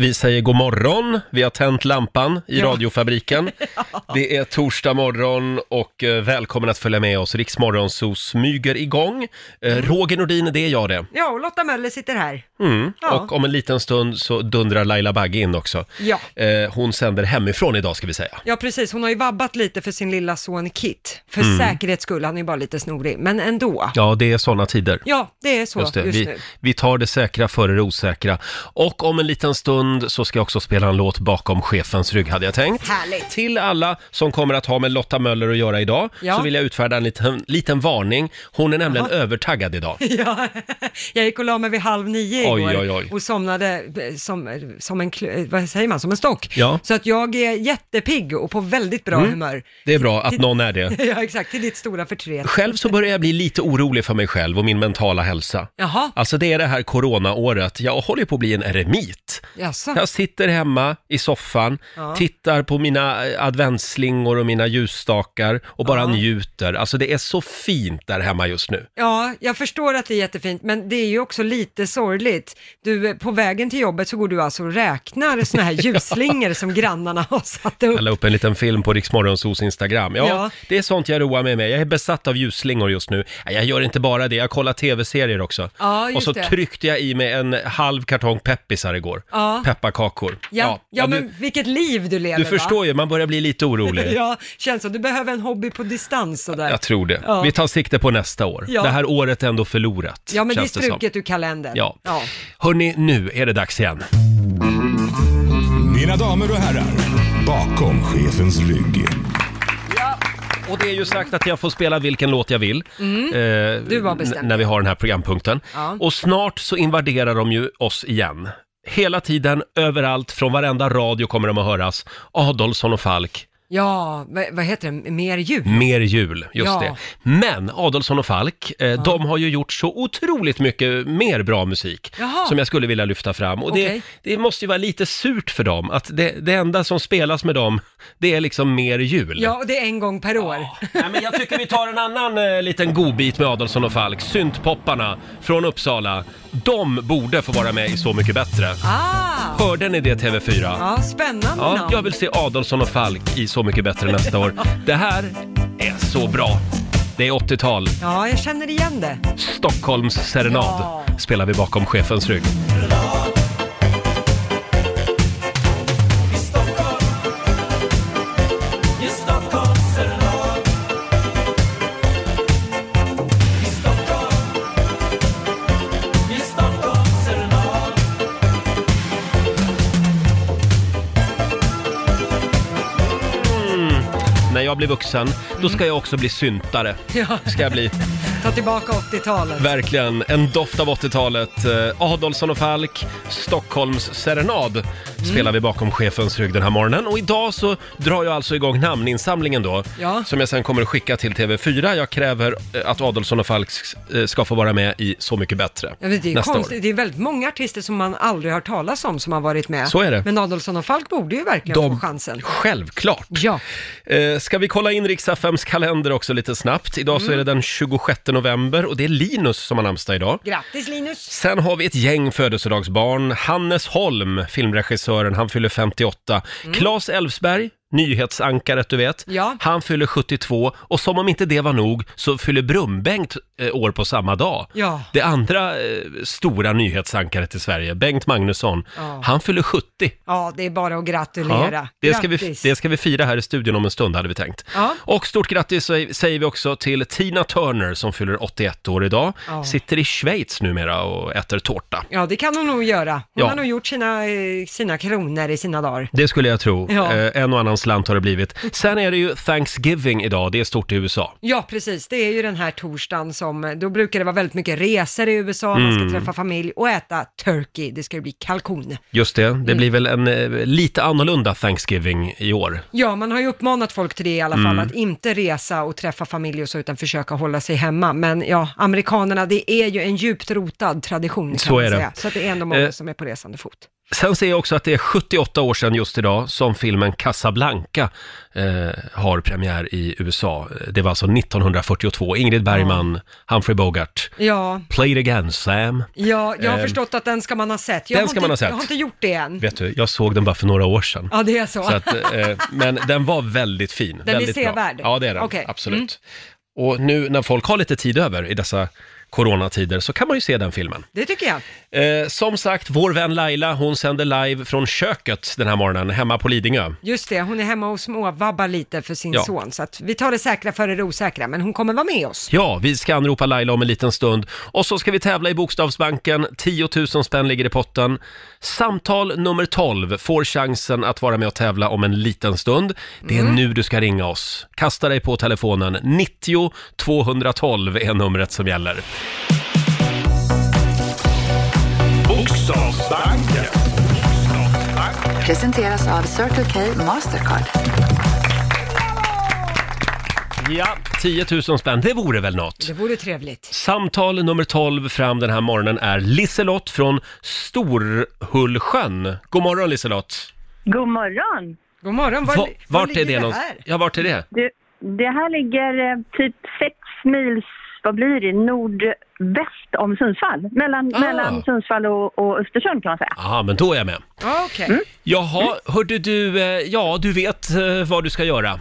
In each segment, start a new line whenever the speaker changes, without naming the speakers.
Vi säger god morgon. Vi har tänt lampan i radiofabriken. Det är torsdag morgon och eh, välkommen att följa med oss. Riksmorgon så smyger igång. Eh,
Mm.
Roger Nordin, det är jag det.
Ja, och Lotta Möller sitter här.
Mm.
Ja.
Och om en liten stund så dundrar Laila Bagge in också.
Ja.
Eh, Hon sänder hemifrån idag ska vi säga.
Ja, precis. Hon har ju vabbat lite för sin lilla son Kit. För
Mm.
säkerhets skull, han är ju bara lite snorig, men ändå. Ja,
Ja, det är sådana tider.
det är så just,
det. vi,
nu.
vi tar det säkra före det osäkra. Och om en liten stund så ska jag också spela en låt bakom chefens rygg hade jag tänkt.
Härligt.
Till alla som kommer att ha med Lotta Möller att göra idag
Ja.
så vill jag utfärda en liten, liten varning. Hon är nämligen
Jaha.
övertaggad idag.
Ja, jag gick och la mig vid halv nio
Oj,
igår
oj, oj.
och somnade eh, som, som en, kl- eh, vad säger man, som en stock.
Ja.
Så att jag är jättepigg och på väldigt bra
Mm.
humör.
Det är bra att
Till-
någon är det.
Ja, exakt, till ditt stora förtret.
Själv så börjar jag bli lite orolig för mig själv och min mentala hälsa.
Jaha,
Alltså det är det här coronaåret, jag håller på att bli en eremit.
jaså?
Jag sitter hemma i soffan,
Ja.
tittar på mina eh, adventsslingor och mina ljusstakar och bara njuter. Alltså det är så fint där hemma just nu.
Ja, jag förstår att det är jättefint, men det är ju också lite sorgligt. Du, eh, på vägen till jobbet så går du alltså och räknar såna här ljusslingor som grannarna har satt upp.
Jag la upp en liten film på Riksmorgonsos Instagram. Ja,
Ja.
det är sånt jag roar mig med. Jag är besatt av ljusslingor just nu. Nej, Jag gör inte bara det, jag kollar tv-serier också.
Ja, just
och så
det.
tryckte jag i mig en halv kartong peppisar igår.
Ja.
Pepparkakor.
Ja, ja, men
du,
vilket liv du lever
du
va?
förstår ju, man börjar bli lite orolig.
Ja, känns som du behöver en hobby på distans sådär.
Jag tror det.
Ja.
Vi tar sikte på nästa år.
Ja.
Det här året är ändå förlorat,
Ja, men det är
känns som.
struket ur kalendern.
Ja. Hörni, nu är det dags igen.
Mina damer och herrar, bakom chefens rygg.
Och det är ju sagt att jag får spela vilken låt jag vill. eh,
Mm. Du har bestämt.
n- När vi har den här programpunkten.
Ja.
Och snart så invaderar de ju oss igen. Hela tiden, överallt, från varenda radio kommer de att höras. Adolfsson och Falk,
Ja, vad, vad heter det, mer djur?
mer jul, just
Ja.
det. Men Adolfsson och Falk, eh, de har ju gjort så otroligt mycket mer bra musik
Jaha.
som jag skulle vilja lyfta fram. Och
Okej.
det, det måste ju vara lite surt för dem att det, det enda som spelas med dem, det är liksom mer jul.
Ja, och det är en gång per år.
Nej, men jag tycker vi tar en annan eh, liten godbit med Adolfsson och Falk. Syntpopparna från Uppsala. De borde få vara med i Så mycket bättre.
Ah,
Hörde ni det TV4?
ja, spännande
Ja,
namn.
jag vill se Adolfsson och Falk i Så mycket bättre nästa år. Det här är så bra. Det är 80-tal.
ja, jag känner igen det.
Stockholms serenad
Ja.
spelar vi bakom chefens rygg. När jag blir vuxen, då ska jag också bli syntare.
Ja.
Ska jag bli.
Ta tillbaka 80-talet.
Verkligen, en doft av 80-talet. Eh, Adolfsson och Falk, Stockholms serenad
Mm.
spelar vi bakom chefens rygg den här morgonen. Och idag så drar jag alltså igång namninsamlingen då,
Ja.
som jag sen kommer att skicka till TV4. Jag kräver eh, att Adolfsson och Falk eh, ska få vara med i Så mycket bättre
Ja, men det är ju
nästa
konstigt.
år.
Det är väldigt många artister som man aldrig har hört talas om som har varit med.
Så är det.
Men Adolfsson och Falk borde ju verkligen få chansen.
Självklart!
Ja,
Eh, ska vi kolla in Riks-FMs kalender också lite snabbt? Idag
Mm.
så är det den 26 november och det är Linus som har namnsdag idag.
grattis Linus!
Sen har vi ett gäng födelsedagsbarn. Hannes Holm, filmregissören, han fyller 58. Claes Elfsberg, nyhetsankaret du vet,
Mm. Ja.
han fyller 72. Och som om inte det var nog så fyller Brumbengt eh, år på samma dag.
Ja.
Det andra eh, stora nyhetsankaret i Sverige, Bengt Magnusson,
Ja.
han fyller 70.
Ja, det är bara att gratulera.
Ja, det, ska vi,
Grattis.
det ska vi fira här i studion om en stund hade vi tänkt.
Ja.
Och stort grattis sä- säger vi också till Tina Turner som fyller 81 år idag.
Ja.
Sitter i Schweiz numera och äter tårta.
Ja, det kan hon nog göra. Hon
Ja.
har nog gjort sina, eh, sina kronor i sina dagar.
Det skulle jag tro.
Ja.
Eh, en och annan slant har det blivit. Sen är det ju Thanksgiving idag, det är stort i USA.
Ja, precis. Det är ju den här torsdagen som, eh, då brukar det vara väldigt mycket resor i USA,
Mm.
man ska träffa familj och äta turkey. Det ska ju bli kalkon.
Just det, det blir väl en eh, lite annorlunda Thanksgiving i år.
Ja, man har ju uppmanat folk till det i alla fall,
Mm.
att inte resa och träffa familj och så, utan försöka hålla sig hemma. Men ja, amerikanerna, det är ju en djupt rotad tradition, kan
Så
man
är det.
säga. Så att det är ändå många
Eh.
som är på resande fot.
Sen ser jag också att det är 78 år sedan just idag som filmen Casablanca eh, har premiär i USA. Det var alltså 1942. Ingrid Bergman, Humphrey Bogart.
Ja,
Play it again, Sam.
ja jag har
Eh,
förstått att den ska man ha sett. Jag
den
har
ska
inte,
man ha sett.
Jag har inte gjort det än.
Vet du, jag såg den bara för några år sedan.
Ja, det är så.
Så att, eh, men den var väldigt fin.
blir
väldigt bra.
sevärd.
Ja, det är den.
Okej. Mm.
Absolut. Och nu när folk har lite tid över i dessa coronatider så kan man ju se den filmen.
Det tycker jag.
Eh, som sagt, vår vän Laila, hon sänder live från köket den här morgonen hemma på Lidingö.
Just det, hon är hemma och småvabbar lite för sin
Ja.
son. Så att vi tar det säkra före det osäkra, men hon kommer vara med oss.
Ja, vi ska anropa Laila om en liten stund. Och så ska vi tävla i Bokstavsbanken. 10 000 spänn ligger i potten. Samtal nummer 12 får chansen att vara med och tävla om en liten stund. Det är
Mm.
nu du ska ringa oss. Kasta dig på telefonen. 90 212 är numret som gäller.
Bokstavsbanken.
Presenteras av Circle K Mastercard.
Ja, 10 000 spänn, det vore väl något?
Det vore trevligt.
Samtal nummer 12 fram den här morgonen är Liselott från Storhullsjön. God morgon Liselott!
God morgon!
God morgon, var,
Va-
var, ligger det
någonst-
här?
Ja, vart är det?
Det, det här ligger eh, typ sex mils, vad blir det, nordväst om Sundsvall. Mellan,
Ah.
mellan Sundsvall och, och Östersund kan man säga.
Ja, men då är jag med.
Ja, okej.
Jaha, hörde du, eh, ja du vet eh, vad du ska göra.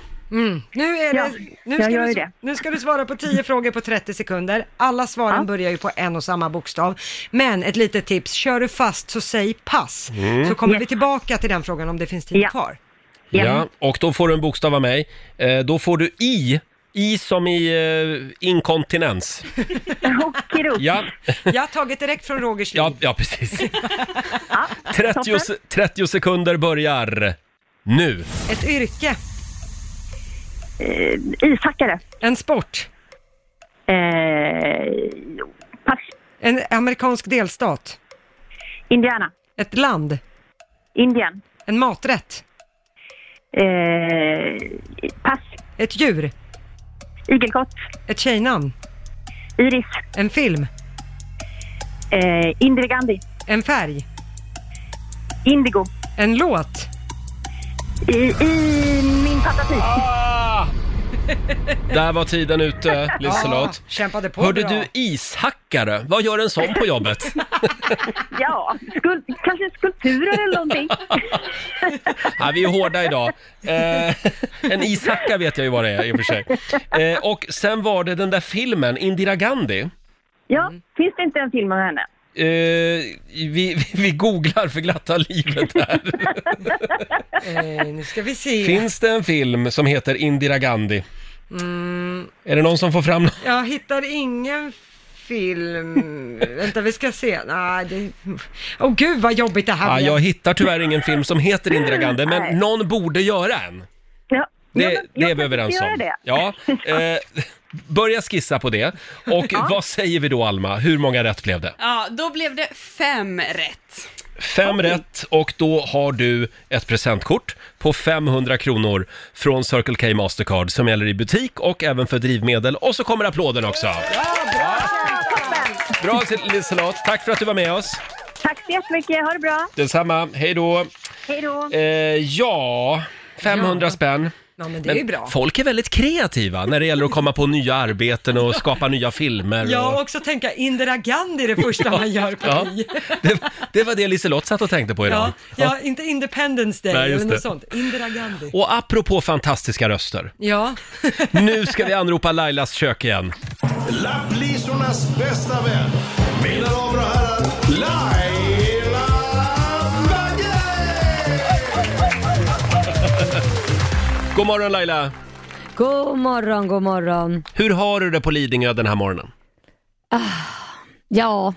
Nu, är
Ja,
det, nu,
jag
ska
gör
du,
ju
s-
det.
nu ska du svara på 10 frågor på 30 sekunder. Alla svaren
Ja.
börjar ju på en och samma bokstav. Men ett litet tips, kör du fast så säg pass.
Mm.
Så kommer vi tillbaka till den frågan om det finns tid
Ja.
kvar.
Ja.
Ja, och då får du en bokstav av mig. Eh, Då får du I, I som i eh, inkontinens.
Okidok.
Ja,
Jag har tagit direkt från Rogers
ja,
liv.
ja precis.
Ja,
30,
toppen.
se- 30 sekunder börjar nu.
Ett yrke,
Eh, ishackare.
en sport,
Eh, pass.
en amerikansk delstat,
Indiana.
ett land,
Indien.
en maträtt,
Eh, pass.
ett djur,
Igelkott.
ett tjejnamn,
Iris.
en film,
Eh, Indira Gandhi.
en färg,
Indigo.
en låt.
I, i min fantasi.
Ah! Där var tiden ute, Liselott.
Ja, kämpade på
Hörde
bra.
du ishackare? Vad gör en sån på jobbet?
Ja, skul, kanske skulpturer eller någonting.
Ja, vi är hårda idag. Eh, en ishacka vet jag ju vad det är i och för sig. Eh, och sen var det den där filmen, Indira Gandhi.
Ja, finns det inte en film om henne?
Eh, vi, vi googlar för glatta livet här.
Eh, nu ska vi se.
Finns det en film som heter Indira Gandhi?
Mm.
Är det någon som får fram någon?
Jag hittar ingen film. Vänta, vi ska se. Nej, det... Åh gud vad jobbigt det här
Ah,
blev.
jag hittar tyvärr ingen film som heter Indira Gandhi, men
Nej.
någon borde göra en.
Ja.
Det,
ja, men jag
det är vi
kan
överens
göra
om.
Det.
Ja, eh, börja skissa på det. Och vad säger vi då, Alma? Hur många rätt blev det?
Ja, då blev det fem rätt.
Fem rätt och då har du ett presentkort på 500 kronor från Circle K Mastercard som gäller i butik och även för drivmedel. Och så kommer applåden också! Bra Liselott, tack för att du var med oss.
Tack så jättemycket, ha det bra.
Detsamma, hej då.
Hej då.
Eh, ja, 500 spänn.
Ja, men det är ju bra.
folk är väldigt kreativa när det gäller att komma på nya arbeten och skapa nya filmer.
Jag
och-
också tänka Indira Gandhi det första man gör på
Ja,
i.
det, det var det Liselott satt och tänkte på idag.
Ja, ja, inte Independence Day
Nej, just
eller
det.
något sånt. Indira Gandhi.
Och apropå fantastiska röster,
Ja,
nu ska vi anropa Lailas kök igen.
Lapplisornas bästa vän. Mina damer och herrar, Laila Bagge!
God morgon Laila!
God morgon, god morgon.
Hur har du det på Lidingö den här morgonen?
Ja,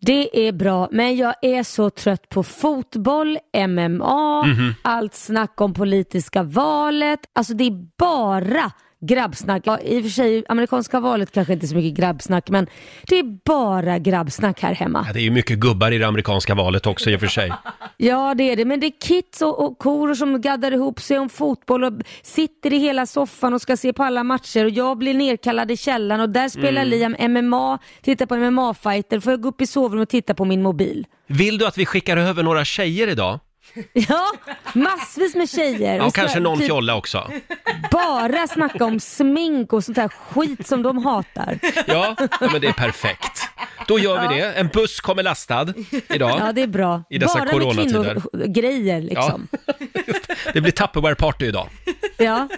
det är bra, men jag är så trött på fotboll, MMA, allt snack om politiska valet. Alltså det är bara grabbsnack. Ja, I och för sig, amerikanska valet kanske inte är så mycket grabbsnack, men det är bara grabbsnack här hemma.
Ja, det är ju mycket gubbar i det amerikanska valet också i och för sig.
Ja, det är det, men det är kids och, och koror som gaddar ihop sig om fotboll och sitter i hela soffan och ska se på alla matcher och jag blir nerkallad i källaren och där spelar
Mm.
Liam MMA, tittar på MMA-fighter, får jag gå upp i sovrummet och titta på min mobil.
Vill du att vi skickar över några tjejer idag?
Ja, massvis med tjejer.
Ja,
Vi
och
ska
kanske någon
typ
fjolla också.
Bara snacka om smink och sånt där skit som de hatar.
Ja, ja, men det är perfekt. Då gör vi det. En buss kommer lastad
Ja,
idag.
det är bra.
I dessa
Bara med
coronatider.
kvinnogrejer liksom.
Det blir Tupperware-party idag. Mm.
Ja.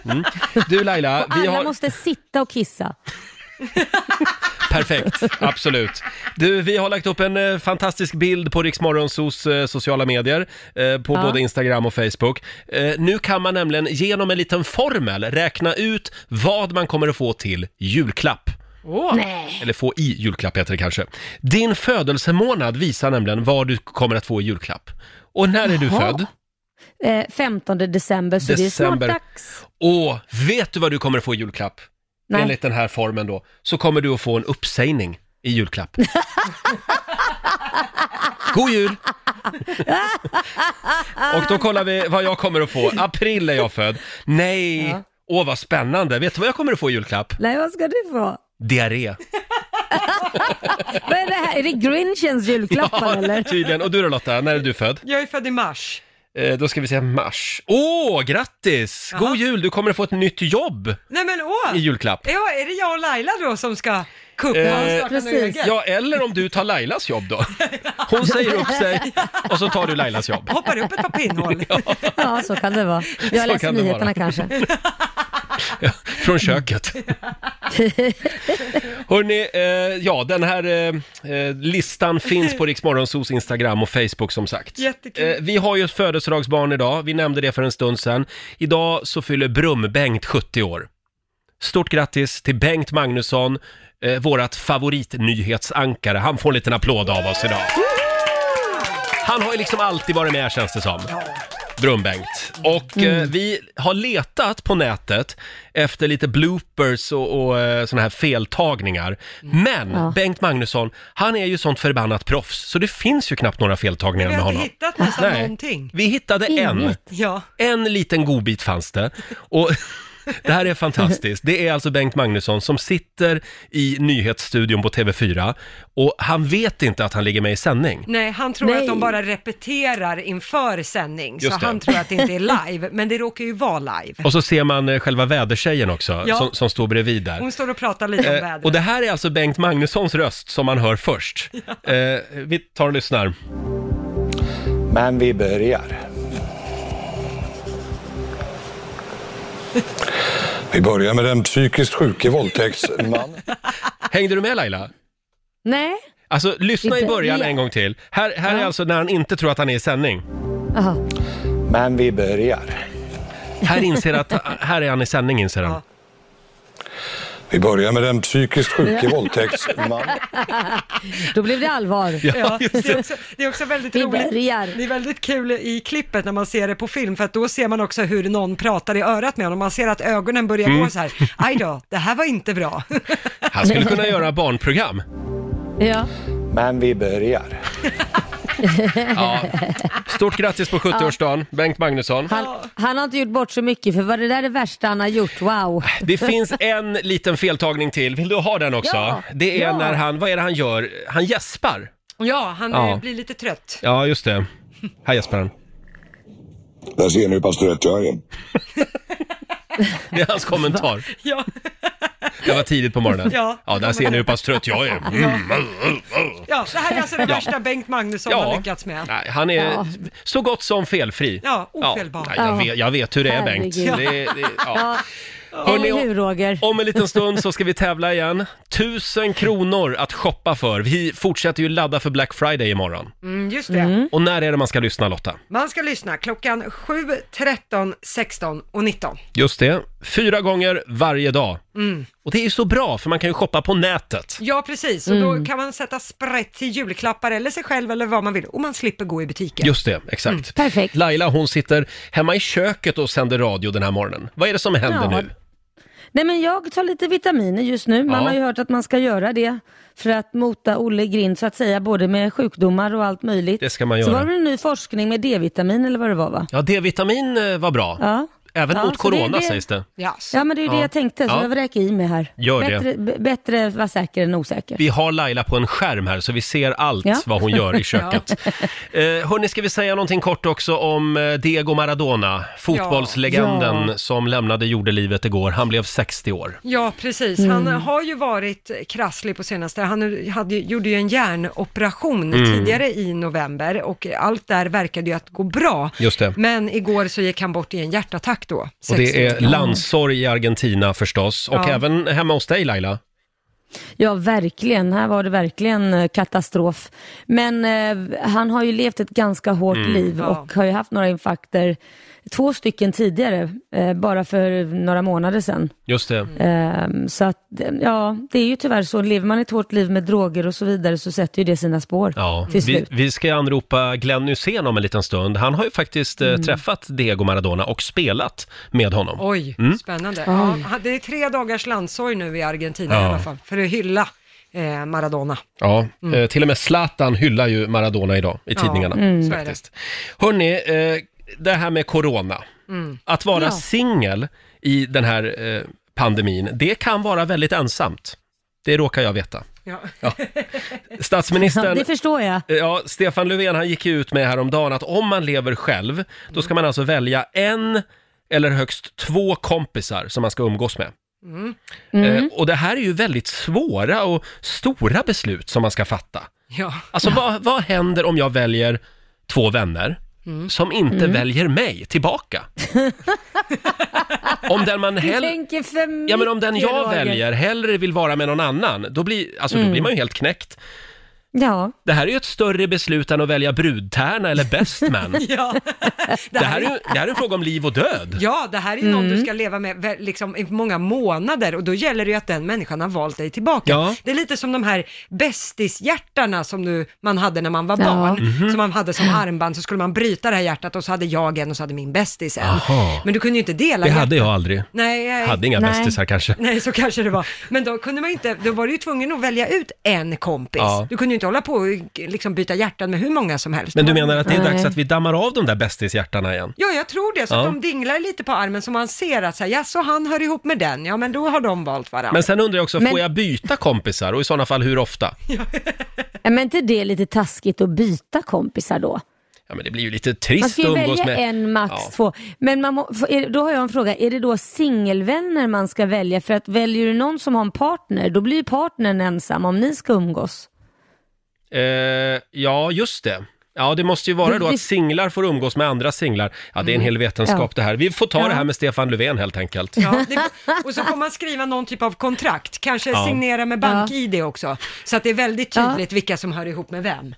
Du Laila, vi
Alla
har...
måste sitta och kissa.
Perfekt, absolut. Du, vi har lagt upp en eh, fantastisk bild på Riksmorgonsos eh, sociala medier, eh, på
Ja.
både Instagram och Facebook. Eh, nu kan man nämligen genom en liten formel räkna ut vad man kommer att få till julklapp.
Nej.
Eller få i julklapp heter det kanske. Din födelsemånad visar nämligen vad du kommer att få i julklapp. Och när är du
Jaha.
född?
Eh, 15 december, så
December.
det är snart dags.
Och vet du vad du kommer att få i julklapp?
Nej.
Enligt den här formen då, så kommer du att få en uppsägning i julklapp. God jul! Och då kollar vi vad jag kommer att få. April är jag född. Nej!
Ja.
Åh, vad spännande! Vet du vad jag kommer att få i julklapp?
Nej, vad ska du få?
Diarré.
Vad är det här? Är det Grinchens julklappar eller?
Tydligen. Och du då Lotta, när är du född?
Jag är född i mars.
Eh, då ska vi säga mars. Åh, grattis! God
Jaha.
jul! Du kommer att få ett nytt jobb
Nej men
i
åh!
julklapp.
Ja, är det jag och Laila då som ska kuppa
Eh,
och starta något
precis.
eget?
Ja, eller om du tar Lailas jobb då. Hon säger upp sig och så tar du Lailas jobb.
Hoppar upp ett par pinnhål.
Ja, så kan det vara. Jag
Så
läser
kan det vara.
nyheterna kanske.
Från köket. Hörrni, eh, ja den här eh, eh, listan finns på Riksmorgonsos Instagram och Facebook som sagt.
Jättekul.
Eh, vi har ju ett födelsedagsbarn idag, vi nämnde det för en stund sedan. Idag så fyller Brum-Bengt 70 år. Stort grattis till Bengt Magnusson, eh, vårat favoritnyhetsankare. Han får en liten applåd av oss idag. Han har ju liksom alltid varit med känns det som. Brumbengt. Och eh,
Mm.
vi har letat på nätet efter lite bloopers och, och eh, såna här feltagningar. Men
Ja.
Bengt Magnusson, han är ju sånt förbannat proffs så det finns ju knappt några feltagningar
Vi
med
har inte
honom.
hittat nästan
Nej.
någonting.
Vi hittade en.
Inget.
Ja.
En liten godbit fanns det. Och det här är fantastiskt. Det är alltså Bengt Magnusson som sitter i nyhetsstudion på TV4 och han vet inte att han ligger med i sändning.
Nej, han tror
Nej.
att de bara repeterar inför sändning,
Just
så
det.
han tror att det inte är live, men det råkar ju vara live.
Och så ser man eh, själva vädertjejen också,
Ja.
som, som står bredvid där.
Hon står och pratar lite om
Eh,
vädret.
och det här är alltså Bengt Magnussons röst som man hör först. Eh, vi tar och lyssnar.
Men vi börjar.
Vi börjar med den psykiskt sjuke våldtäktsmannen.
Hängde du med Laila?
Nej.
Alltså, lyssna
Vi
i början
börjar.
en gång till. Här, här är
Ja.
alltså när han inte tror att han är i sändning.
Jaha.
Men vi börjar.
Här inser att, här är han i sändning inser han.
Ja.
Vi börjar med den psykiskt sjuke våldtäktsmannen.
Då blev det allvar.
Ja, det, är också, det är också väldigt
Vi
roligt.
börjar.
Det är väldigt kul i klippet när man ser det på film, för att då ser man också hur någon pratar i örat med honom. Man ser att ögonen börjar
Mm.
gå så här. Aj då, det här var inte bra.
Han skulle kunna göra barnprogram.
Ja.
Men vi börjar.
Ja. Stort grattis på 70-årsdagen, Bengt Magnusson.
Han, han har inte gjort bort så mycket för vad det där är det värsta han har gjort, wow.
Det finns en liten feltagning till. Vill du ha den också?
Ja,
det är
ja.
när han, vad är det han gör? Han gäspar.
Ja, han
Ja.
eh, blir lite trött.
Ja, just det. Här gäspar han.
Där ser ni hur pass trött jag är.
Det är hans kommentar.
Ja.
Det var tidigt på morgonen.
Ja.
ja där ser ni hur pass trött jag är. Mm.
ja, det här är alltså det värsta Bengt Magnusson
Ja.
har lyckats med.
Nej, han är
Ja.
så gott som felfri.
Ja, ofelbar.
Ja, jag,
Ja.
vet, jag vet hur det är Bengt. Det,
Herregud.
det, ja.
Ja,
Hörrni,
eller hur
om,
Roger?
om en liten stund så ska vi tävla igen. Tusen kronor att shoppa för. Vi fortsätter ju ladda för Black Friday imorgon.
Mm, just det.
Och när är det man ska lyssna Lotta?
Man ska lyssna klockan 7, 13, 16 och 19.
Just det, fyra gånger varje dag.
Mm.
Och det är ju så bra för man kan ju shoppa på nätet.
Ja, precis. Och
Mm.
då kan man sätta sprätt till julklappar eller sig själv eller vad man vill. Och man slipper gå i butiken.
Just det, exakt.
Mm. Perfekt.
Laila hon sitter hemma i köket och sänder radio den här morgonen. Vad är det som händer
Ja.
nu?
Nej men jag tar lite vitaminer just nu. Man
Ja.
har ju hört att man ska göra det för att mota Olle i grind så att säga, både med sjukdomar och allt möjligt.
Det ska man
Så
göra.
var det en ny forskning med D-vitamin eller vad det var va?
Ja, D-vitamin eh, var bra.
Ja.
Även
Ja,
mot
så det-
corona
det-
sägs det.
Ja, så.
Ja men det är ju
Ja.
det jag tänkte, så
Ja.
jag räcker i mig här.
Gör det.
bättre, b- bättre vara säker än osäker.
Vi har Laila på en skärm här så vi ser allt
Ja.
vad hon gör i köket. eh, hörni, ska vi säga någonting kort också om eh, Diego Maradona, fotbollslegenden som lämnade jordelivet igår. Han blev 60 år.
Ja, precis.
Mm.
Han har ju varit krasslig på senaste. Han hade, ju- gjorde ju en hjärnoperation
Mm.
tidigare i november och allt där verkade ju att gå bra.
Just det.
Men igår så gick han bort i en hjärtattack då.
Och
60.
det är landssorg i Argentina förstås och
Ja.
även hemma hos dig Laila.
Ja, verkligen. Här var det verkligen eh, katastrof. Men eh, han har ju levt ett ganska hårt
Mm.
liv
Ja.
och har ju haft några infarkter, två stycken tidigare, eh, bara för några månader sedan.
Just det.
Eh, så att, eh, ja, det är ju tyvärr så. Lever man ett hårt liv med droger och så vidare så sätter ju det sina spår
Ja,
till
vi,
slut.
vi ska anropa Glenn Hysén om en liten stund. Han har ju faktiskt
Mm.
eh, träffat Diego Maradona och spelat med honom.
Oj,
Mm.
spännande. Ja, han- det är tre dagars landsorg nu i Argentina
Ja.
i alla fall, för att hylla eh, Maradona.
Ja,
Mm.
eh, till och med Zlatan hyllar ju Maradona idag i tidningarna.
så är det.
faktiskt. Hörni, eh, det här med corona.
Mm.
Att vara
Ja.
singel i den här eh, pandemin, det kan vara väldigt ensamt. Det råkar jag veta.
Ja.
Ja,
Statsministern,
det förstår jag.
eh, ja, Stefan Löfven, han gick ju ut med häromdagen att om man lever själv, då ska man alltså välja en eller högst två kompisar som man ska umgås med.
Mm.
Eh, och det här är ju väldigt svåra och stora beslut som man ska fatta.
Ja.
Alltså vad, vad händer om jag väljer två vänner
Mm.
som inte väljer mig tillbaka? om den man
Du
hell...
tänker för mycket,
Ja men om den jag
Roger. Mm.
väljer hellre vill vara med någon annan, då blir, alltså, då blir man ju helt knäckt.
Ja,
Det här är ju ett större beslut än att välja brudtärna eller best man.
Ja.
det, här är ju, det här är en fråga om liv och död.
ja, det här är någon
Mm.
du ska leva med vä- liksom, i många månader och då gäller det ju att den människan har valt dig tillbaka.
Ja.
Det är lite som de här bästishjärtarna som du, man hade när man var
Ja.
barn,
Mhm.
som man hade som armband, så skulle man bryta det här hjärtat och så hade jag en och så hade min bästis en.
Jaha.
Men du kunde ju inte dela
Det
hjärtat.
hade jag aldrig.
Nej, jag-
Hade inga
Nej.
bästisar kanske.
Nej, så kanske det var. Men då kunde man ju inte, då var du ju tvungen att välja ut en kompis.
Ja.
Du kunde ju inte hålla på och liksom byta hjärtan med hur många som helst.
Men du menar att det är
Nej.
dags att vi dammar av de där bästishjärtarna igen?
Ja, jag tror det. Så
Ja.
att de dinglar lite på armen så man ser att så här, så han hör ihop med den, ja men då har de valt varandra.
Men sen undrar jag också,
Men-
får jag byta kompisar och i sådana fall hur ofta?
Ja, men inte det är lite taskigt att byta kompisar då?
Ja, men det blir ju lite
Man
trist
ska
att
ju
umgås
välja
med.
en, max
Ja.
två. Men man må, för- är- då har jag en fråga, är det då singelvänner man ska välja? För att väljer du någon som har en partner, då blir ju partnern ensam om ni ska umgås.
Eh, ja, just det. Ja, det måste ju vara
Det-
då
det- Mm.
att singlar får umgås med andra singlar. Ja, det är en hel vetenskap
Ja.
det här. Vi får ta
Ja.
det här med Stefan Löfven helt enkelt.
Ja, det, och så får man skriva någon typ av kontrakt, kanske
Ja.
signera med bank-id också, så att det är väldigt tydligt vilka som hör ihop med vem.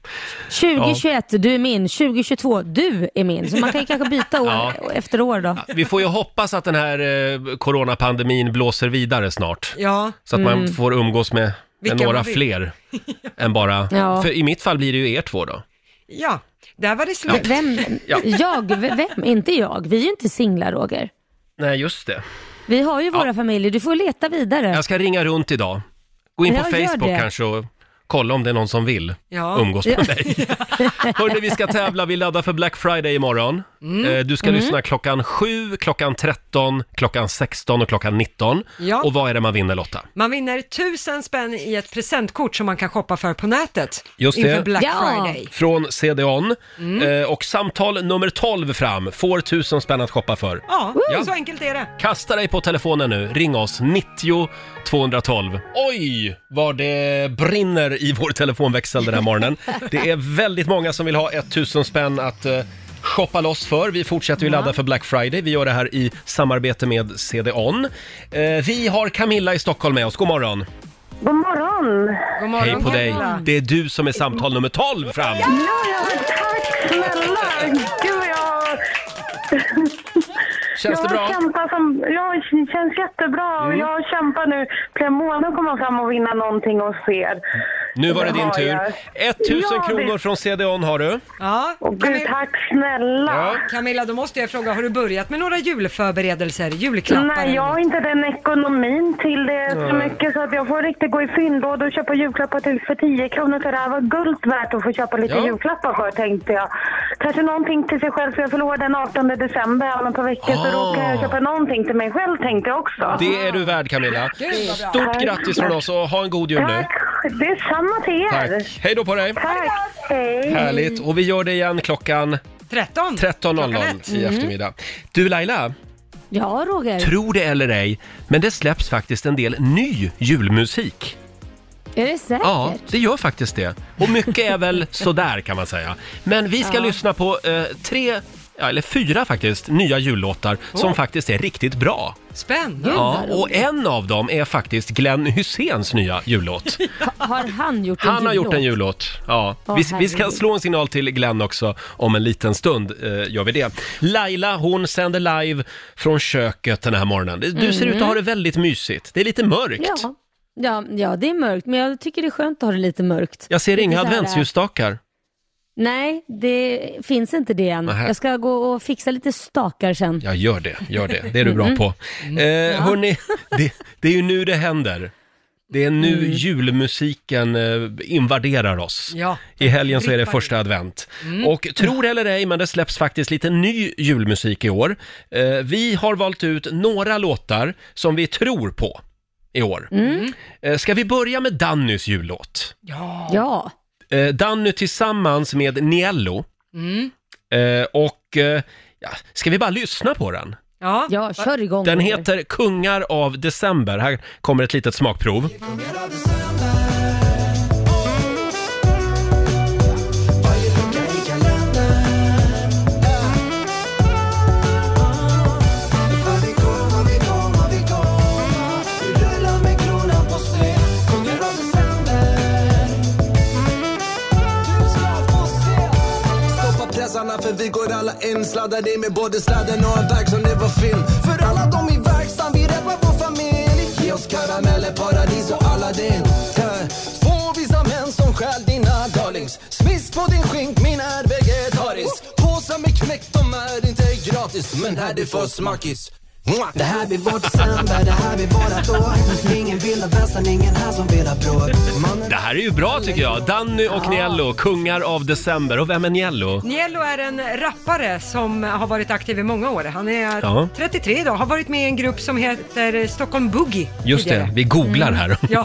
2021, du är min. 2022, du är min. Så man kan ju kanske byta år
Ja.
efter år då.
Vi får ju hoppas att den här eh, coronapandemin blåser vidare snart.
Ja,
Så att
Mm.
man får umgås med, med
Vilka
några
man vill.
fler än bara...
Ja.
För i mitt fall blir det ju er två då.
ja, där var det slut.
Vem?
Ja.
Jag? V- Vem? Inte jag. Vi är ju inte singlar, Roger.
Nej, just det.
Vi har ju våra familjer. Du får leta vidare.
Jag ska ringa runt idag. Gå in på
Ja, gör
Facebook
det.
kanske och kolla om det är någon som vill
Ja.
umgås med mig. Hörni, vi ska tävla. Vi laddar för Black Friday imorgon.
Mm.
Eh, Du ska
Mm.
lyssna klockan 7, klockan 13, klockan 16 och klockan 19.
Ja.
Och vad är det man vinner Lotta?
Man vinner tusen spänn i ett presentkort som man kan shoppa för på nätet
Just det.
inför Black
Ja.
Friday.
Från CDON.
Mm.
Eh, Och samtal nummer 12 fram får 1000 spänn att shoppa för.
Ja,
Ja.
så enkelt är det.
Kasta dig på telefonen nu. Ring oss 90 212. Oj, vad det brinner i vår telefonväxel den här morgonen. Det är väldigt många som vill ha 1000 spänn att eh, shoppa loss för. Vi fortsätter ju ladda för Black Friday. Vi gör det här i samarbete med CDON. Eh, vi har Camilla i Stockholm med oss. God morgon.
God morgon!
God morgon,
Hej på dig.
Camilla.
Det är du som är samtal nummer 12 fram.
Ja, ja, men tack snälla! Gud, vad jag...
Känns det
jag
bra? Mm.
Kämpar som, ja, det känns jättebra. och Jag kämpar nu flera månader att komma fram och vinna någonting hos er.
Nu var det
Det
din
har
tur.
jag.
1000
Ja, det-
kronor från CDON har du.
Ja,
Åh gud,
Camilla,
tack snälla.
Ja.
Camilla, då måste jag fråga, har du börjat med några julförberedelser? Julklappar?
Nej, jag har
eller något?
inte den ekonomin till det så mycket så att jag får riktigt gå i fyndlåda och köpa julklappar till för 10 kronor. Så det här var guld värt att få köpa lite
Ja.
julklappar för tänkte jag. Kanske någonting till sig själv för jag förlorar den 18 december om ett par veckor så
Ah.
då kan jag köpa någonting till mig själv tänkte jag också.
Det är du värd Camilla.
Gud, vad bra.
Stort grattis från oss och ha en god jul nu.
Tack! Det är samma till er.
Tack. Hej då på dig.
Tack. Hej.
Härligt. Och vi gör det igen klockan Mm.
13? Klockan
13.00
ett.
i eftermiddag. Du Laila,
Ja, Roger.
tro det eller ej, men det släpps faktiskt en del ny julmusik.
är det säkert?
Ja, det gör faktiskt det. Och mycket är väl sådär kan man säga. Men vi ska lyssna på eh, tre, ja, eller fyra faktiskt, nya jullåtar som faktiskt är riktigt bra.
Spännande.
Ja, och en av dem är faktiskt Glenn Hyséns nya jullåt.
Har han gjort en
Han har gjort en
jullåt?
jullåt. Ja.
Åh,
Vi, vi ska
herregud.
slå en signal till Glenn också om en liten stund. Eh, gör vi det. Laila, hon sänder live från köket den här morgonen. Du ser ut att ha det väldigt mysigt. Det är lite mörkt.
Mm. Ja. Ja, ja, det är mörkt, men jag tycker det är skönt att ha det lite mörkt.
Jag ser
Lite
inga
så här- eh,
adventsljusstakar.
Nej, det finns inte det än.
Nähä.
Jag ska gå och fixa lite stakar sen.
Ja, gör det. Gör det. Det är du bra
Mm.
på. Eh, Hörni, det, det är ju nu det händer. Det är nu
Mm.
julmusiken eh, invaderar oss.
Ja.
I helgen så är det
Rippar in.
första advent. Och tror eller ej, men det släpps faktiskt lite ny julmusik i år. Eh, vi har valt ut några låtar som vi tror på i år. Eh, ska vi börja med Dannys jullåt?
Ja.
Ja,
Eh, Danny tillsammans med Niello. Eh, och eh, ja, ska vi bara lyssna på den?
ja.
ja, kör igång.
Den
Roger.
heter Kungar av december. Här kommer ett litet smakprov.
Stoppa pressarna för vi går alla in Sladdar i med både sladden och en väg som det var film För alla dom i verkstan, vi rappar vår familj Ge oss karameller, paradis och Aladdin yeah. Två visa män som stjäl dina darlings Smisk på din skink, min är vegetaris Påsar med knäck, de är inte gratis Men här det för smackis Mwah! Det här blir vårt december, det här blir vårat år Ingen vill ha vänstern, ingen här som vill ha bråk Mannen
Det här är ju bra tycker jag. Danny och Niello, Kungar av december. Och vem är Niello?
Niello är en rappare som har varit aktiv i många år. Han är
Ja.
33 idag, har varit med i en grupp som heter Stockholm Boogie.
Just det,
tidigare. Mm.
vi googlar här.
Ja.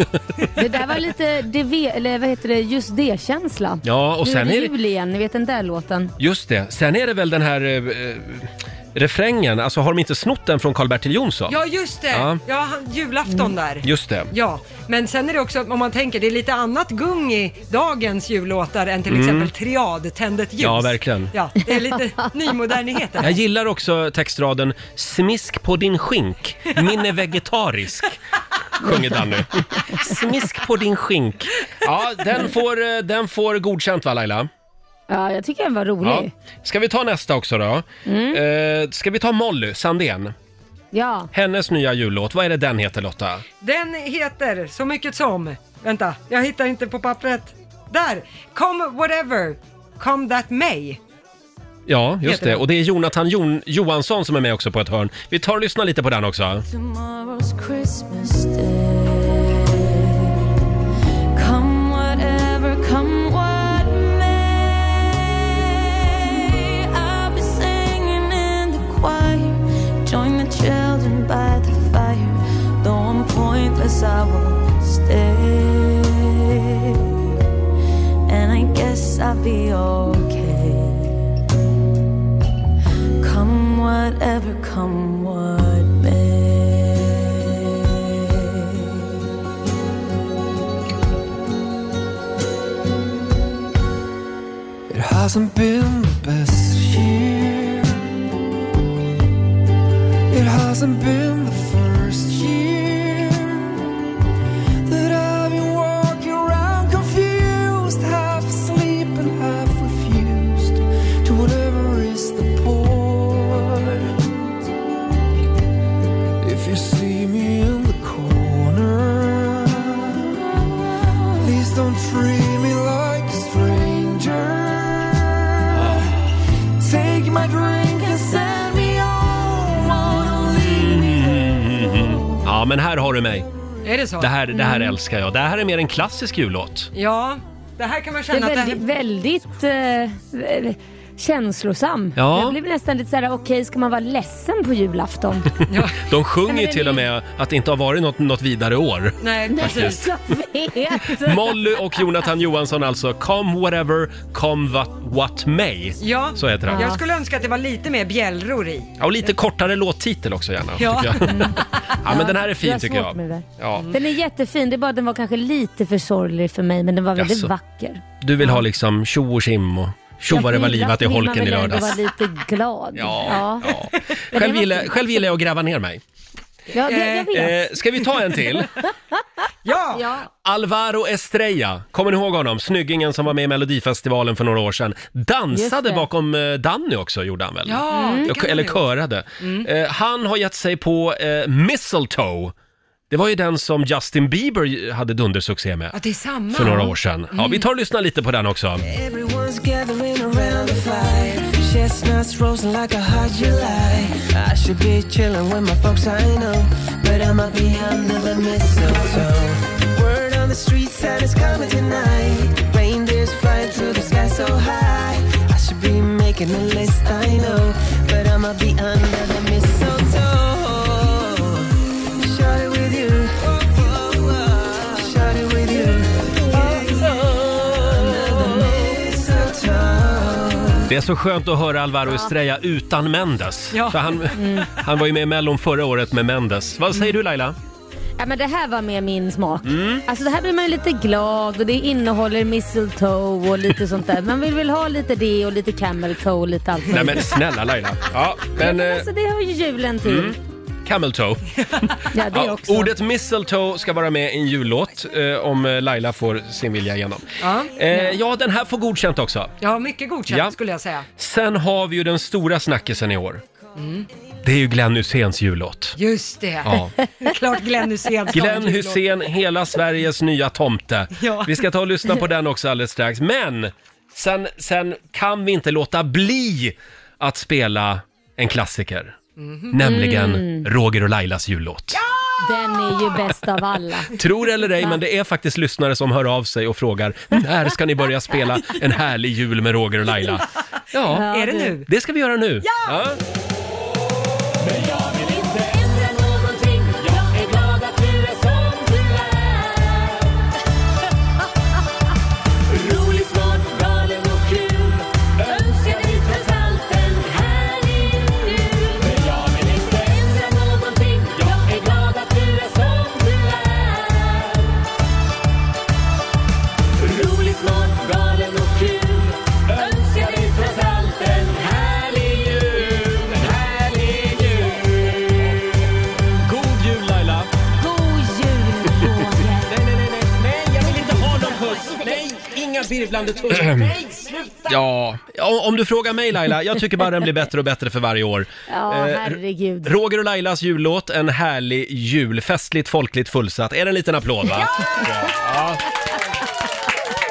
Det där var lite, DV, eller vad heter det, just det-känsla.
Ja, och
nu
sen
är
är
det
det,
jul igen, ni vet den där låten.
just det. Sen är det väl den här eh, refrängen, alltså har de inte snott den från Karl-Bertil Jonsson?
ja, just det.
Ja. Mm.
Ja, han- julafton där.
Just det.
Ja, men sen är det också, om man tänker, det är lite annat gung i dagens jullåtar än till exempel Triad, Tänd ett ljus.
Mm. Ja, verkligen.
Ja, det är lite nymodernhet där.
Jag gillar också textraden “Smisk på din skink, min är vegetarisk”, sjunger Danny. Smisk på din skink. Ja, den får, eh, den får godkänt va Laila?
Ja, jag tycker den var
Mm.
rolig.
Ska vi ta nästa också då? Eh, ska vi ta Molly Sandén?
Ja,
Hennes nya jullåt, vad är det den heter Lotta?
Den heter så mycket som, vänta, jag hittar inte på pappret. Där! Come whatever, come that may.
Ja, just
Heter
det.
den.
Och det är Jonathan Jon- Johansson som är med också på ett hörn. Vi tar och lyssnar lite på den också.
Tomorrow's Christmas Day. Come whatever, come what may. I'll be singing in the choir. Join the children by the fire. Though I'm pointless, I will stay. And I guess I'll be okay. Come whatever, come what may.
It hasn't been the best year. It hasn't been the first year that I've been walking around confused, half asleep and half refused to whatever is the point. If you see me in the corner, please don't treat
men här har du mig.
Är det så?
Det här, det här
Mm.
älskar jag. Det här är mer en klassisk jullåt.
Ja, det här kan man
Det är
känna att
väldigt,
det...
väldigt eh, eh, känslosam.
Ja.
Jag blev nästan lite såhär, okej ska man vara ledsen på julafton?
De
Nej,
sjunger
men det
till
är-
och med att det inte har varit något, något vidare år.
Nej, precis.
Faktiskt.
Jag vet!
Molly och Jonathan Johansson alltså. Come whatever, come what, what may.
Ja,
Så heter den.
jag skulle önska att det var lite mer bjällror i.
Ja, och lite kortare låttitel också gärna.
Ja.
Tycker jag. ja, men den
Mm.
här är
Jag
fin
har
tycker
svårt
jag.
med det.
Ja.
Mm. Den är jättefin, det är bara att den var kanske lite för sorglig för mig men den var väldigt
Jaså.
vacker.
Du vill ha liksom tjo och tjim och tjo vad det var livat i holken i lördags.
Jag vill ändå vara lite glad.
Ja, ja.
var
Själv, gillar,
fint.
själv gillar jag att gräva ner mig.
Ja, det, jag vet.
Eh, ska vi ta en till?
Ja!
Alvaro Estrella, kommer ni ihåg honom? Snyggingen som var med i Melodifestivalen för några år sedan. Dansade
Just det.
bakom eh, Danny också, gjorde han väl?
Ja, det
Jag,
kan
eller
man ju.
körade.
Mm.
Eh, han har gett sig på eh, Mistletoe. Det var ju den som Justin Bieber hade dundersuccé med
Ja, det är Mm. samma.
för några år sedan. Ja, vi tar och lyssnar lite på den också.
Everyone's gathering around the fire. Chestnuts roasting like a hot July. I should be chilling with my folks, I know. But I'm up behind the mistletoe. Word on the street that it's coming tonight. Reindeers flying through the sky so high. I should be making a list, I know. But I'm up behind the mistletoe. Shot it with you. Shot it with you.
Det är så skönt att höra Alvaro Estrella utan Mendes.
Ja. Mm.
För han, han var ju med i Mellon förra året med Mendes. Vad säger du Laila?
Ja, men det här var mer min smak.
Mm.
Alltså det här blir man ju lite glad och det innehåller mistletoe och lite sånt där. Man vill väl ha lite det och lite camel toe och lite allt
Nej
möjligt.
men snälla Laila. Ja, men eh, Mm.
Alltså det hör ju julen till.
camel toe.
Ja, det
Ja,
också.
Ordet mistletoe ska vara med i en jullåt eh, om eh, Laila får sin vilja igenom.
Ja.
Eh, ja, den här får godkänt också.
Ja, mycket godkänt
Ja.
skulle jag säga.
Sen har vi ju den stora snackisen i år. Det är ju Glenn Hyséns jullåt.
Just det.
Ja.
Klart Glenn Hysén. ska ha en
Glenn
jullåt.
Hussein, hela Sveriges nya tomte.
Ja.
Vi ska ta och lyssna på den också alldeles strax. Men sen, sen kan vi inte låta bli att spela en klassiker. Nämligen Roger och Lailas jullåt.
Den är ju bäst av alla.
Tror eller ej, men det är faktiskt lyssnare som hör av sig och frågar när ska ni börja spela en härlig jul med Roger och Laila? Ja,
Är det nu?
det ska vi göra nu. Ja! God jul Laila!
God jul Roger.
Nej, nej, nej, nej, nej, jag vill inte ha någon puss. Nej, inga virvlande tussar. Nej, sluta.
Ja, om- om du frågar mig Laila, jag tycker bara den blir bättre och bättre för varje år.
Ja,
Eh,
herregud.
Roger och Lailas jullåt, en härlig jul, festligt, folkligt, fullsatt. Är det en liten applåd va? Ja! ja.